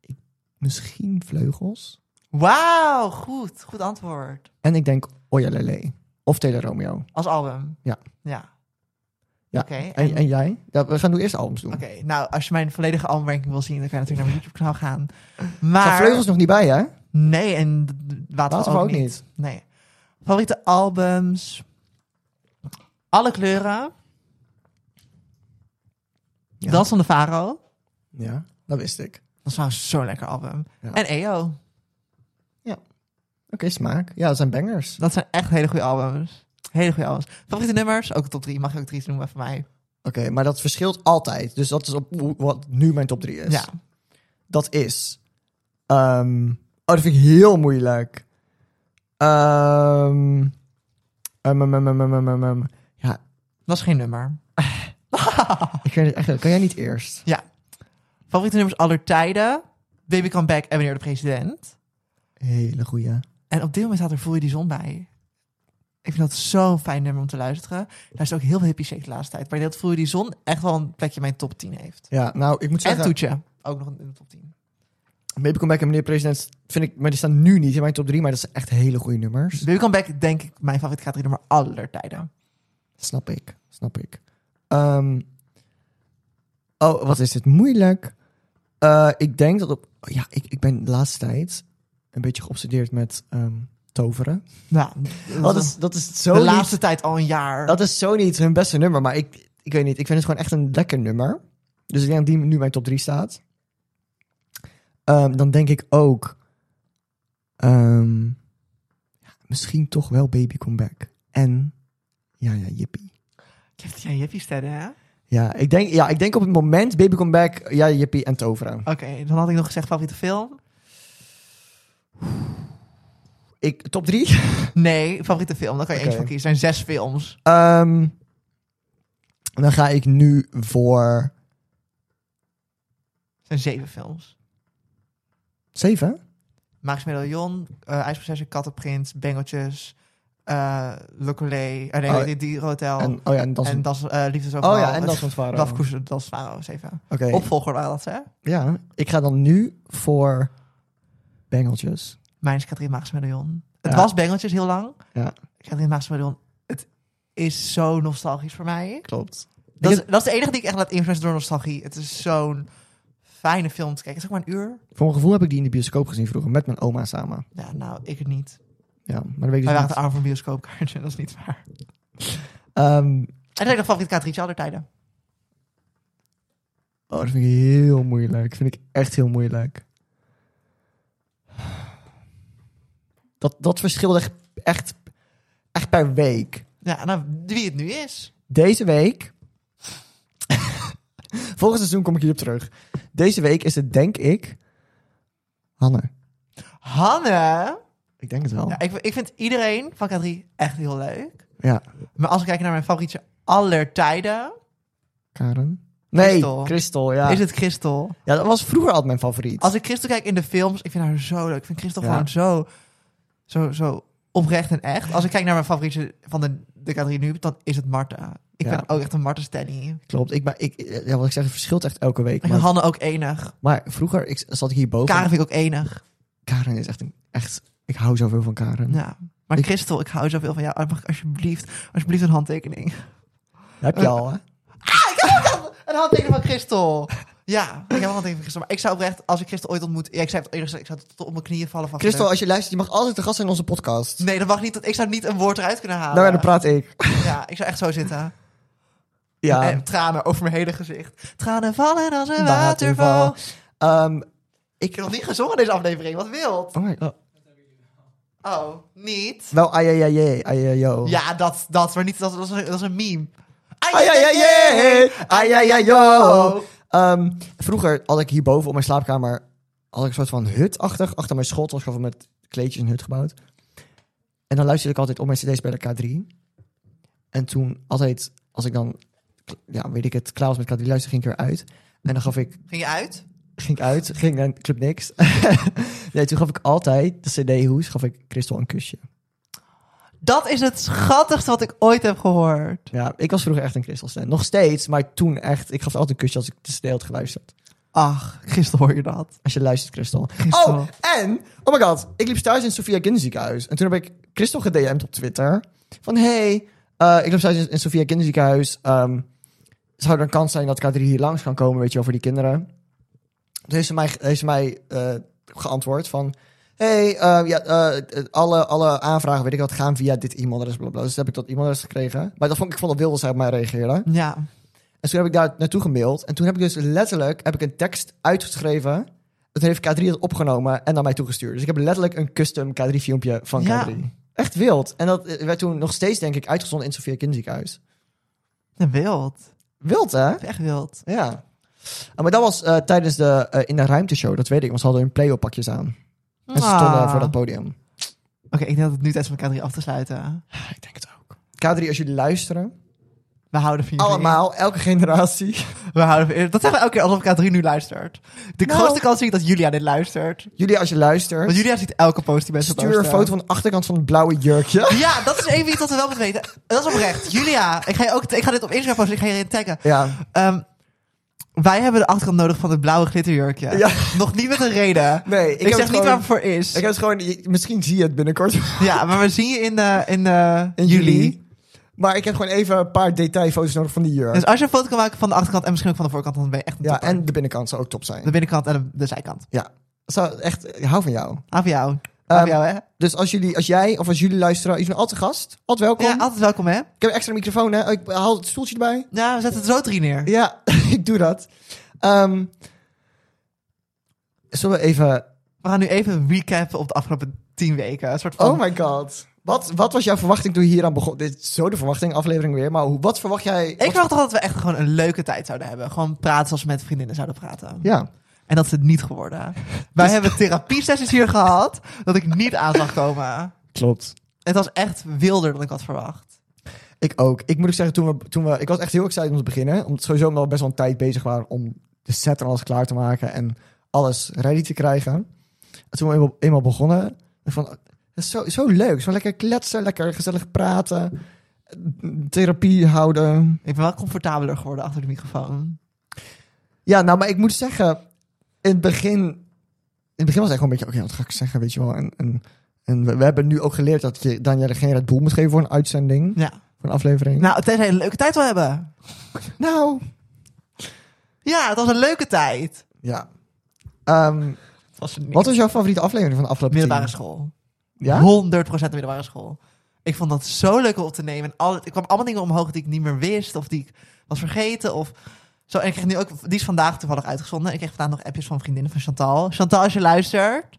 Speaker 2: Ik- Misschien Vleugels.
Speaker 1: Wauw, goed. Goed antwoord.
Speaker 2: En ik denk Oyalele. Of Tele Romeo.
Speaker 1: Als album.
Speaker 2: Ja.
Speaker 1: Ja.
Speaker 2: Ja,
Speaker 1: Oké,
Speaker 2: En,
Speaker 1: en-
Speaker 2: en jij? Ja, we gaan nu eerst albums doen.
Speaker 1: Oké, nou, als je mijn volledige albumranking wil zien, dan kan je natuurlijk naar mijn YouTube-kanaal gaan.
Speaker 2: Staan
Speaker 1: Maar...
Speaker 2: Vleugels nog niet bij, hè?
Speaker 1: Nee, en d- d-
Speaker 2: Dat
Speaker 1: Waterval
Speaker 2: ook
Speaker 1: ook niet.
Speaker 2: niet.
Speaker 1: Nee. Favoriete albums? Alle kleuren.
Speaker 2: Ja.
Speaker 1: Dans van de Faro.
Speaker 2: Ja, dat wist ik. Oké,
Speaker 1: Dat is trouwens zo'n lekker album.
Speaker 2: Ja.
Speaker 1: En E EO.
Speaker 2: smaak. Ja, dat zijn bangers.
Speaker 1: Dat zijn echt hele goede albums. Hele goede albums. Favoriete nummers? Ook top 3. Mag je ook drie noemen van mij?
Speaker 2: Oké, maar dat verschilt altijd. Dus dat is op hoe- wat nu mijn top 3 is.
Speaker 1: Ja.
Speaker 2: Dat is. ehm, oh, dat vind ik heel moeilijk. Ehm, ehm, ehm, ehm, ehm, ehm, ehm, ehm. Ja,
Speaker 1: Dat is geen nummer.
Speaker 2: Oh, ik weet het echt. niet. Kan jij niet eerst?
Speaker 1: Favoriete nummers aller tijden? Baby Come Back en Wanneer de President.
Speaker 2: Hele goeie.
Speaker 1: En op dit moment staat er Voel je die zon bij. Ik vind dat zo'n fijn nummer om te luisteren. Daar is ook heel veel hippie shake de laatste tijd. Maar ik denk dat Voel je die zon echt wel een plekje in mijn top 10 heeft.
Speaker 2: Ja, nou, ik moet
Speaker 1: En
Speaker 2: zeggen.
Speaker 1: Toetje. Ook nog in de top 10.
Speaker 2: Baby Come Back en Meneer President vind ik... Maar die staan nu niet in mijn top 3, maar dat zijn echt hele goede nummers.
Speaker 1: Baby Come Back, denk ik, mijn favoriete categorie nummer aller tijden.
Speaker 2: Snap ik, snap ik. Ehm, oh, wat is dit moeilijk? Eh, ik denk dat op... oh ja, ik, ik ben de laatste tijd een beetje geobsedeerd met ehm, toveren.
Speaker 1: Nou,
Speaker 2: Dat is, dat is zo
Speaker 1: de
Speaker 2: niet-
Speaker 1: laatste tijd al een jaar.
Speaker 2: Dat is zo niet hun beste nummer, maar ik, ik weet niet. Ik vind het gewoon echt een lekker nummer. Dus ik denk dat die nu mijn top 3 staat. Ehm, dan denk ik ook... ehm, ja, misschien toch wel Baby Comeback. En... Ja, ja, jippie.
Speaker 1: Je hebt jij hippie stemmen, hè? Oké,
Speaker 2: Ja, ik denk, ja, ik denk op het moment Baby Come Back, ja, Jippie en Toveren.
Speaker 1: dan had ik nog gezegd favoriete film.
Speaker 2: Ik, top drie? (laughs)
Speaker 1: Nee, favoriete film. Dan kan je
Speaker 2: Oké.
Speaker 1: eens van kiezen. Er zijn zes films.
Speaker 2: Ehm, dan ga ik nu voor
Speaker 1: Er zijn zeven films.
Speaker 2: zeven.
Speaker 1: Maag's Medaillon, eh IJsprinsesje, Kattenprins, Bengeltjes, eh Le Collet, eh, nee,
Speaker 2: Oh,
Speaker 1: die, die Hotel. En,
Speaker 2: En, oh ja, en dan...
Speaker 1: dat is eh, Liefdes
Speaker 2: oh ja, en dat van Faro.
Speaker 1: Dat koersen, dat is Faro, zeven.
Speaker 2: Oké,
Speaker 1: Opvolger waren dat, hè?
Speaker 2: ja. Ik ga dan nu voor Bengeltjes.
Speaker 1: Mijn is Katrien Maag's Medaillon. Het
Speaker 2: Ja.
Speaker 1: was Bengeltjes heel lang.
Speaker 2: Ja.
Speaker 1: Katrien Maag's Medaillon, het is zo nostalgisch voor mij.
Speaker 2: Klopt.
Speaker 1: Dat is, dat is de enige die ik echt laat influencen door nostalgie. Het is zo'n fijne film te kijken. Het is ook maar een uur.
Speaker 2: Voor mijn gevoel heb ik die in de bioscoop gezien vroeger, met mijn oma samen.
Speaker 1: Ja, nou, ik niet.
Speaker 2: Ja, maar dan weet ik
Speaker 1: Wij
Speaker 2: dus
Speaker 1: waren
Speaker 2: niet.
Speaker 1: te arm voor bioscoopkaartje, (laughs) dat is niet waar.
Speaker 2: Ehm,
Speaker 1: En dan nog favoriete Katrientje aller tijden.
Speaker 2: oh, dat vind ik heel moeilijk. Vind ik echt heel moeilijk. Dat, dat verschilt echt, echt, echt per week.
Speaker 1: Ja, nou, wie het nu is.
Speaker 2: Deze week. (laughs) Volgend seizoen kom ik hierop terug. Deze week is het, denk ik. Hanne.
Speaker 1: Hanne.
Speaker 2: Ik denk het wel.
Speaker 1: Ja, ik, ik vind iedereen van K3 echt heel leuk.
Speaker 2: Ja.
Speaker 1: Maar als ik kijk naar mijn favorietje aller tijden,
Speaker 2: Karen. Nee,
Speaker 1: Christel.
Speaker 2: Crystal. ja.
Speaker 1: is het Christel.
Speaker 2: ja, dat was vroeger altijd mijn favoriet.
Speaker 1: Als ik Christel kijk in de films, ik vind haar zo leuk. Ik vind Christel
Speaker 2: Ja.
Speaker 1: gewoon zo, zo, zo oprecht en echt. Als ik kijk naar mijn favorietje van de, de K3 nu, dan is het Marta. Ik
Speaker 2: Ja.
Speaker 1: ben ook echt een Marta Stanny.
Speaker 2: Klopt. Ik, maar ik, ja, wat ik zeg, het verschilt echt elke week.
Speaker 1: Ik vind
Speaker 2: Maar,
Speaker 1: Hanne ook enig.
Speaker 2: maar vroeger ik, zat ik hierboven.
Speaker 1: Karen vind ik ook enig.
Speaker 2: Karen is echt een. Echt, ik hou zoveel van Karen.
Speaker 1: Ja. Maar
Speaker 2: Mm. Ik-
Speaker 1: Christel, ik hou zoveel van jou. Ah, Mag ik alsjeblieft, alsjeblieft een handtekening?
Speaker 2: Heb je al, hè?
Speaker 1: Een handtekening van Christel! Ja, ik heb een handtekening van Christel. Maar ik zou oprecht, als ik Christel ooit ontmoet... Ja, ik zei het eerder gezegd, ik zou tot op mijn knieën vallen van
Speaker 2: Christel,
Speaker 1: geluk.
Speaker 2: als je luistert, je mag altijd de gast zijn in onze podcast.
Speaker 1: Nee, dat mag niet. Ik zou niet een woord eruit kunnen halen.
Speaker 2: Nou ja, dan praat ik.
Speaker 1: Ja, ik zou echt zo zitten.
Speaker 2: Ja.
Speaker 1: En tranen over mijn hele gezicht. Tranen vallen als een
Speaker 2: Waterval.
Speaker 1: waterval.
Speaker 2: Ehm,
Speaker 1: Ik heb nog niet gezongen in deze aflevering. Wat wild.
Speaker 2: oh my god.
Speaker 1: Oh, niet?
Speaker 2: Wel, ai, ai, ai, ai, ai, ai, ai.
Speaker 1: Ja, dat, dat. Maar niet, dat, dat, is, een, dat is een meme. Ai,
Speaker 2: Ai, ai, ai, ai, ai, ai, ai, ai, ai, ai, ai, ai, ai,
Speaker 1: Oh.
Speaker 2: Ehm, vroeger had ik hierboven op mijn slaapkamer had ik een soort van hutachtig achter mijn school. Het was gewoon met kleedjes een hut gebouwd. En dan luisterde ik altijd op mijn cd's bij de K3. En toen altijd, als ik dan, ja, weet ik het, klaar was met K3 luisteren, ging ik weer uit. En dan gaf ik
Speaker 1: Ging je uit?
Speaker 2: ging ik uit, ging naar Club Niks. (laughs) nee, toen gaf ik altijd de CD-hoes, gaf ik Christel een kusje.
Speaker 1: Dat is het schattigste wat ik ooit heb gehoord.
Speaker 2: Ja, ik was vroeger echt een Christel-stan. Nog steeds, maar toen echt. Ik gaf altijd een kusje als ik de CD had geluisterd.
Speaker 1: Ach, gisteren hoor je dat.
Speaker 2: Als je luistert, Christel.
Speaker 1: Christel.
Speaker 2: Oh, en, oh my god, ik liep thuis in het Sofia Kinderziekenhuis. En toen heb ik Christel gedm'd op Twitter. Van, hey, eh, ik liep thuis in, in Sofia Kinderziekenhuis. ehm, zou er een kans zijn dat K3 hier langs kan komen, weet je wel, voor die kinderen? Toen heeft ze mij, heeft ze mij eh, geantwoord van... hey, eh, ja, eh, alle, alle aanvragen, weet ik wat, gaan via dit e-mailadres, blablabla. Dus heb ik dat e-mailadres gekregen. Maar dat vond ik, ik vond dat wilde zij op mij reageren.
Speaker 1: Ja.
Speaker 2: En toen heb ik daar naartoe gemaild. En toen heb ik dus letterlijk heb ik een tekst uitgeschreven. Dat heeft K3 het opgenomen en naar mij toegestuurd. Dus ik heb letterlijk een custom K3-filmpje van
Speaker 1: Ja.
Speaker 2: K3. Echt wild. En dat eh, werd toen nog steeds, denk ik, uitgezonden in het Sofia Kinderziekenhuis.
Speaker 1: Ja, Wild.
Speaker 2: Wild, hè?
Speaker 1: Echt wild.
Speaker 2: Ja. Ah, maar dat was eh, tijdens de eh, In de Ruimte show, dat weet ik. Want ze hadden hun play-op pakjes aan. En ze stonden
Speaker 1: Ah.
Speaker 2: voor dat podium.
Speaker 1: Oké, ik denk dat het nu tijd is om elkaar drie af te sluiten.
Speaker 2: Ik denk het ook. K3, als jullie luisteren.
Speaker 1: We houden van jullie.
Speaker 2: Allemaal, elke generatie.
Speaker 1: We houden van Dat zeggen we elke keer alsof elkaar drie nu luistert. De
Speaker 2: Nou.
Speaker 1: grootste kans zie ik dat Julia dit luistert.
Speaker 2: Jullie, als je luistert,
Speaker 1: Want Julia ziet elke post die mensen
Speaker 2: stuur een
Speaker 1: posten.
Speaker 2: foto van de achterkant van het blauwe jurkje.
Speaker 1: (laughs) Ja, dat is even iets wat we wel moeten weten. Dat is oprecht. Julia, ik ga, je ook, ik ga dit op Instagram posten. Ik ga je erin taggen.
Speaker 2: Ja.
Speaker 1: Ehm, wij hebben de achterkant nodig van het blauwe glitterjurkje.
Speaker 2: Ja.
Speaker 1: Nog niet met een reden.
Speaker 2: (laughs) Nee, ik,
Speaker 1: Ik, zeg niet waar het voor is.
Speaker 2: Ik heb het gewoon, je- misschien zie je het binnenkort (laughs)
Speaker 1: Ja, maar we zien je in, de, in, de,
Speaker 2: in
Speaker 1: juli.
Speaker 2: juli. Maar ik heb gewoon even een paar detailfoto's nodig van die jurk.
Speaker 1: Dus als je een foto kan maken van de achterkant en misschien ook van de voorkant, dan ben je echt een
Speaker 2: ja,
Speaker 1: topper.
Speaker 2: en de binnenkant zou ook top zijn.
Speaker 1: De binnenkant en de, de zijkant.
Speaker 2: Zou echt, ik hou van jou.
Speaker 1: Aan voor jou. Aan voor
Speaker 2: Ehm,
Speaker 1: jou, hè?
Speaker 2: Dus als, jullie, als jij of als jullie luisteren, je bent altijd gast. Altijd welkom.
Speaker 1: Ja, altijd welkom, hè?
Speaker 2: Ik heb een extra microfoon, hè. Ik haal het stoeltje erbij.
Speaker 1: Ja, we zetten het zo drie neer.
Speaker 2: Ja, (laughs) ik doe dat. Ehm, zullen we even...
Speaker 1: We gaan nu even recappen op de afgelopen tien weken. Een soort van...
Speaker 2: Oh my god. Wat, wat was jouw verwachting toen je hier aan begon? Dit is zo de verwachting, aflevering weer. Maar hoe, wat verwacht jij?
Speaker 1: ik verwacht toch dat we echt gewoon een leuke tijd zouden hebben. Gewoon praten zoals we met vriendinnen zouden praten.
Speaker 2: Ja. Dus-
Speaker 1: En dat is het niet geworden. Wij hebben therapiesessies hier gehad dat ik niet aan zag komen.
Speaker 2: Klopt.
Speaker 1: Het was echt wilder dan ik had verwacht.
Speaker 2: Ik ook. Ik moet ook zeggen, toen we, toen we, ik was echt heel excited om te beginnen. Omdat we sowieso wel best wel een tijd bezig waren om de set en alles klaar te maken. En alles ready te krijgen. En toen we eenmaal, eenmaal begonnen, dacht ik van, dat is zo, zo leuk. Zo lekker kletsen, lekker gezellig praten. Therapie houden.
Speaker 1: Ik ben wel comfortabeler geworden achter de microfoon.
Speaker 2: Ja, nou, maar ik moet zeggen, in het begin, in het begin was het echt wel een beetje, oké, wat ga ik zeggen, weet je wel. En, en, en we, we hebben nu ook geleerd dat je dan de geen Red Bull moet geven voor een uitzending,
Speaker 1: Ja.
Speaker 2: voor een aflevering.
Speaker 1: Nou, tenzij je een leuke tijd wil hebben.
Speaker 2: nou
Speaker 1: Ja, het was een leuke tijd.
Speaker 2: ja. Ehm,
Speaker 1: Het was een
Speaker 2: Wat was jouw favoriete aflevering van de afgelopen
Speaker 1: middelbare
Speaker 2: tien?
Speaker 1: school.
Speaker 2: Ja?
Speaker 1: 100% de middelbare school. Ik vond dat zo leuk om op te nemen. En al, ik kwam allemaal dingen omhoog die ik niet meer wist. Of die ik was vergeten. Of zo. En ik kreeg nu ook... Die is vandaag toevallig uitgezonden. Ik kreeg vandaag nog appjes van vriendinnen van Chantal. Chantal, als je luistert.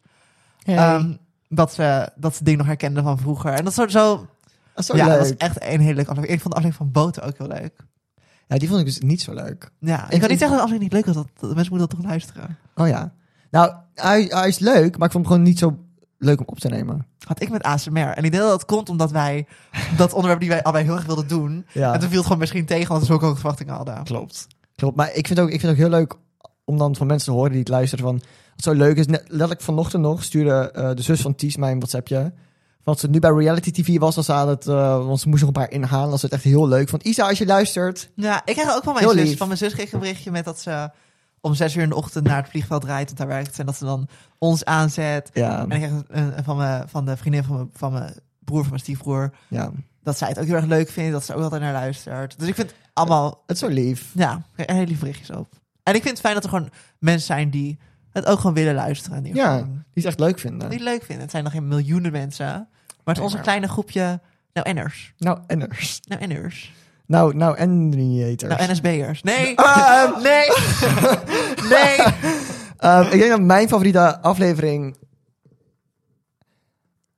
Speaker 1: ehm, dat, ze, dat ze dingen nog herkende van vroeger. En dat soort zo...
Speaker 2: Ah, zo
Speaker 1: ja,
Speaker 2: leuk.
Speaker 1: dat was echt een hele leuke aflevering. Ik vond de aflevering van Boten ook heel leuk.
Speaker 2: Ja, die vond ik dus niet zo leuk.
Speaker 1: Ja, ik
Speaker 2: Ik-
Speaker 1: kan niet zeggen dat als ik niet leuk was. Dat, dat mensen moeten dat toch luisteren.
Speaker 2: Oh ja. Nou, hij, hij is leuk, maar ik vond hem gewoon niet zo leuk om op te nemen.
Speaker 1: Had ik met ASMR. En ik denk dat dat komt omdat wij... dat onderwerp die wij allebei heel erg wilden doen...
Speaker 2: Ja,
Speaker 1: En toen viel het gewoon misschien tegen, want we ook hoge verwachtingen hadden.
Speaker 2: klopt. Klopt, maar ik vind, ook, ik vind het ook heel leuk om dan van mensen te horen die het luisteren van... Wat zo leuk is, net, letterlijk vanochtend nog stuurde eh, de zus van Ties mij een WhatsAppje... Want ze nu bij reality TV was, dan ze aan het, eh, want ze moest nog een paar inhalen. Dat ze het echt heel leuk vond. Isa, als je luistert.
Speaker 1: Ja, ik kreeg ook van mijn
Speaker 2: Heel
Speaker 1: zus.
Speaker 2: lief.
Speaker 1: Van mijn zus kreeg ik een berichtje met dat ze om zes uur in de ochtend naar het vliegveld rijdt, want daar werkt ze, en dat ze dan ons aanzet.
Speaker 2: Ja,
Speaker 1: En ik kreeg een, een- van, mijn, van de vriendin van mijn, van mijn broer, van mijn stiefbroer,
Speaker 2: ja.
Speaker 1: dat zij het ook heel erg leuk vindt, dat ze ook altijd naar luistert. Dus ik vind het allemaal,
Speaker 2: Het is zo lief.
Speaker 1: ja, ik kreeg er hele lieve berichtjes op. En ik vind het fijn dat er gewoon mensen zijn die het ook gewoon willen luisteren. in ieder
Speaker 2: Ja.
Speaker 1: geval.
Speaker 2: Die is echt leuk vinden.
Speaker 1: Die het leuk vinden. Het zijn nog geen miljoenen mensen, maar het is
Speaker 2: Nee,
Speaker 1: onze
Speaker 2: maar-
Speaker 1: kleine groepje nou enners.
Speaker 2: Nou, enners.
Speaker 1: Nou enners.
Speaker 2: Nou, nou, enriators.
Speaker 1: Nou, NSB'ers. Nee. (laughs)
Speaker 2: Ah,
Speaker 1: nee. nee.
Speaker 2: Ehm, ik denk dat mijn favoriete aflevering.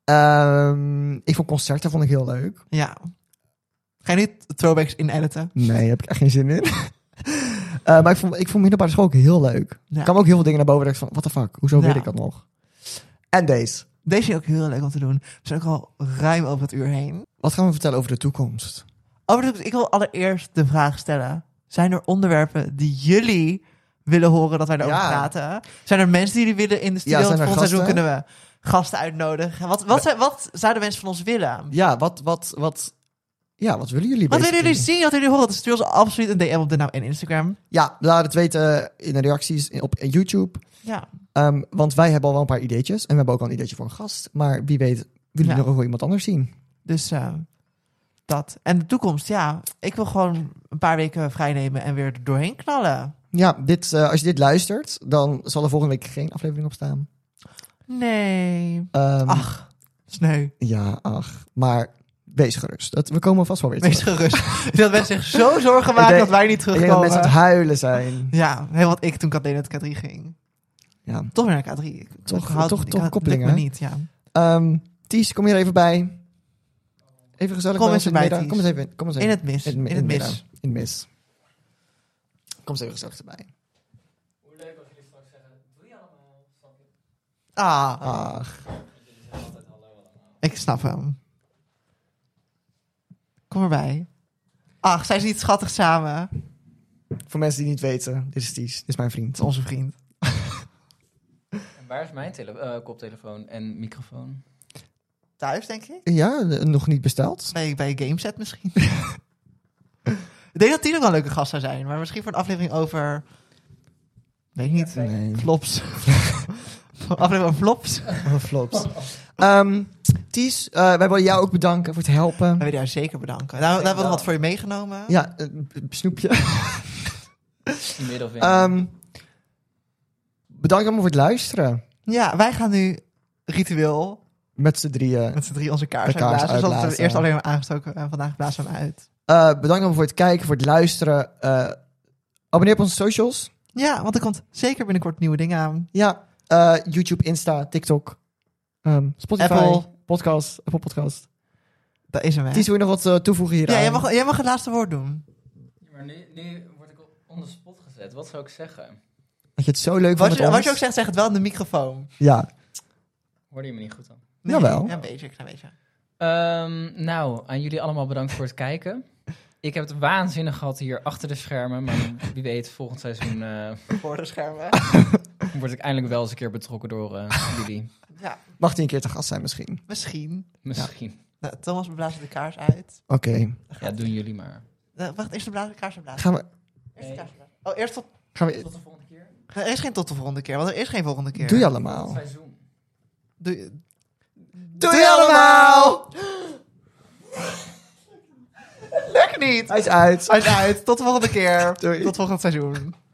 Speaker 2: Ehm, ik vond concerten vond ik heel leuk.
Speaker 1: Ja. Ga je niet throwbacks in editen?
Speaker 2: Nee, daar heb ik echt geen zin in. (laughs) Eh, maar ik vond, ik vond middelbare school ook heel leuk.
Speaker 1: Ja.
Speaker 2: Er kwamen ook heel veel dingen naar boven dat ik van, what the fuck, hoezo
Speaker 1: Ja.
Speaker 2: weet ik dat nog? En deze.
Speaker 1: Deze is ook heel leuk om te doen. We zijn ook al ruim over het uur heen.
Speaker 2: Wat gaan we vertellen over de toekomst?
Speaker 1: Overigens, ik wil allereerst de vraag stellen. Zijn er onderwerpen die jullie willen horen dat wij erover
Speaker 2: Ja.
Speaker 1: praten? Zijn er mensen die jullie willen in de studio?
Speaker 2: Ja,
Speaker 1: Want
Speaker 2: zijn er
Speaker 1: volgend seizoen
Speaker 2: gasten?
Speaker 1: kunnen we gasten uitnodigen. Wat, wat, zijn- wat zouden mensen van ons willen?
Speaker 2: Ja, wat, wat, wat, ja, wat willen jullie
Speaker 1: Wat willen
Speaker 2: basically?
Speaker 1: jullie zien? Wat willen jullie horen? Stuur ons absoluut een DM op de naam en Instagram.
Speaker 2: Ja, laat het weten in de reacties op YouTube.
Speaker 1: Ja,
Speaker 2: Ehm, want wij hebben al wel een paar ideetjes. En we hebben ook al een ideetje voor een gast. Maar wie weet, willen jullie
Speaker 1: Ja.
Speaker 2: nog wel iemand anders zien?
Speaker 1: dus eh, dat. En de toekomst, ja. Ik wil gewoon een paar weken vrijnemen en weer er doorheen knallen.
Speaker 2: Ja, dit, eh, als je dit luistert, dan zal er volgende week geen aflevering op staan.
Speaker 1: Nee.
Speaker 2: Ehm,
Speaker 1: Ach, sneu.
Speaker 2: Ja, ach. Maar wees gerust. Dat, we komen vast wel weer
Speaker 1: Wees
Speaker 2: terug.
Speaker 1: gerust. (laughs) Ik denk dat mensen zich zo zorgen
Speaker 2: Ik
Speaker 1: maken
Speaker 2: denk-
Speaker 1: dat wij niet
Speaker 2: Ik denk dat
Speaker 1: terugkomen.
Speaker 2: mensen aan het huilen zijn.
Speaker 1: Ja, helemaal wat ik toen Kathleen naar K3 ging.
Speaker 2: Ja.
Speaker 1: Toch weer naar K3. Ik-
Speaker 2: Toch-
Speaker 1: ik houd-
Speaker 2: toch-
Speaker 1: ik
Speaker 2: toch
Speaker 1: houd-
Speaker 2: koppeling,
Speaker 1: lukt me
Speaker 2: hè?
Speaker 1: niet, ja.
Speaker 2: Ehm, Ties, kom je er even bij? Even gezellig
Speaker 1: Kom
Speaker 2: bij
Speaker 1: eens
Speaker 2: ons in de
Speaker 1: erbij,
Speaker 2: middag.
Speaker 1: Ties.
Speaker 2: Kom eens even. in. Kom eens
Speaker 1: In
Speaker 2: even.
Speaker 1: het mis. In, het
Speaker 2: middag.
Speaker 1: mis.
Speaker 2: In het mis. Kom eens even gezellig erbij.
Speaker 4: Hoe leuk als jullie straks zeggen, doe je allemaal, snap je?
Speaker 1: Ah,
Speaker 2: Ach.
Speaker 4: Want jullie zeggen altijd hallo allemaal.
Speaker 1: ik snap hem. Kom erbij. Ach, zijn ze niet schattig samen?
Speaker 2: Voor mensen die niet weten, dit is Ties. Dit is mijn vriend.
Speaker 1: Het is onze vriend.
Speaker 4: En waar is mijn tele- eh, koptelefoon en microfoon?
Speaker 1: Thuis, denk ik?
Speaker 2: Ja, eh, nog niet besteld. (laughs)
Speaker 1: Bij, bij Gameset misschien. (laughs) ik denk dat die nog wel een leuke gast zou zijn. Maar misschien voor een aflevering over... Weet ik niet.
Speaker 2: Nee. (laughs)
Speaker 1: Flops. aflevering over flops.
Speaker 2: Oh, flops. Ehm, Ties, eh, wij willen jou ook bedanken voor het helpen.
Speaker 1: We willen jou zeker bedanken. Nou, we hebben we nog wat voor je meegenomen.
Speaker 2: Ja, eh, b- snoepje.
Speaker 4: Die middelvinger.
Speaker 2: Ehm, bedankt allemaal voor het luisteren.
Speaker 1: Ja, wij gaan nu ritueel
Speaker 2: Met z'n drieën.
Speaker 1: met z'n drie onze kaars
Speaker 2: De kaars
Speaker 1: uitblazen. Dus dat hebben we
Speaker 2: uitblazen.
Speaker 1: eerst alleen maar aangestoken en vandaag blazen we hem uit.
Speaker 2: Eh, bedankt allemaal voor het kijken, voor het luisteren. Eh, abonneer op onze socials.
Speaker 1: Ja, want er komt zeker binnenkort nieuwe dingen aan.
Speaker 2: Ja, eh, YouTube, Insta, TikTok, ehm, Spotify,
Speaker 1: Apple.
Speaker 2: Podcast, Apple Podcast.
Speaker 1: Dat is hem, hè?
Speaker 2: Ties, wil je nog wat eh, toevoegen hier?
Speaker 1: Ja, jij mag, jij mag het laatste woord doen.
Speaker 4: Ja, maar nu, nu word ik op- on the spot gezet. Wat zou ik zeggen?
Speaker 2: Dat je het zo leuk vond
Speaker 1: Wat
Speaker 2: met
Speaker 1: je,
Speaker 2: ons.
Speaker 1: wat je ook zegt, zeg het wel in de microfoon.
Speaker 2: Ja,
Speaker 4: Hoorde je me niet goed dan?
Speaker 2: Jawel.
Speaker 1: Ja, een beetje, een klein beetje.
Speaker 4: Ehm, nou, aan jullie allemaal bedankt voor het kijken. Ik heb het waanzinnig gehad hier achter de schermen. Maar wie weet, volgend seizoen eh,
Speaker 1: Voor de schermen.
Speaker 4: word ik eindelijk wel eens een keer betrokken door eh, jullie.
Speaker 1: ja,
Speaker 2: mag die een keer te gast zijn misschien.
Speaker 1: misschien.
Speaker 4: Misschien.
Speaker 1: Nou, Thomas, we blazen de kaars uit.
Speaker 2: Oké,
Speaker 4: Ja, doen jullie maar.
Speaker 1: Eh, wacht, eerst de blazen de kaars uitblazen.
Speaker 2: gaan, we,
Speaker 1: Eerst de kaars uitblazen. Oh, eerst tot...
Speaker 2: gaan we...
Speaker 4: de volgende keer.
Speaker 1: Nee, Er is geen tot de volgende keer, want er is geen volgende keer.
Speaker 2: Doe je allemaal.
Speaker 4: seizoen.
Speaker 1: Doe je-
Speaker 2: Doe je allemaal!
Speaker 1: Lekker niet!
Speaker 2: Hij is uit.
Speaker 1: Hij is uit. Tot de volgende keer.
Speaker 2: Doei.
Speaker 1: Tot volgend seizoen.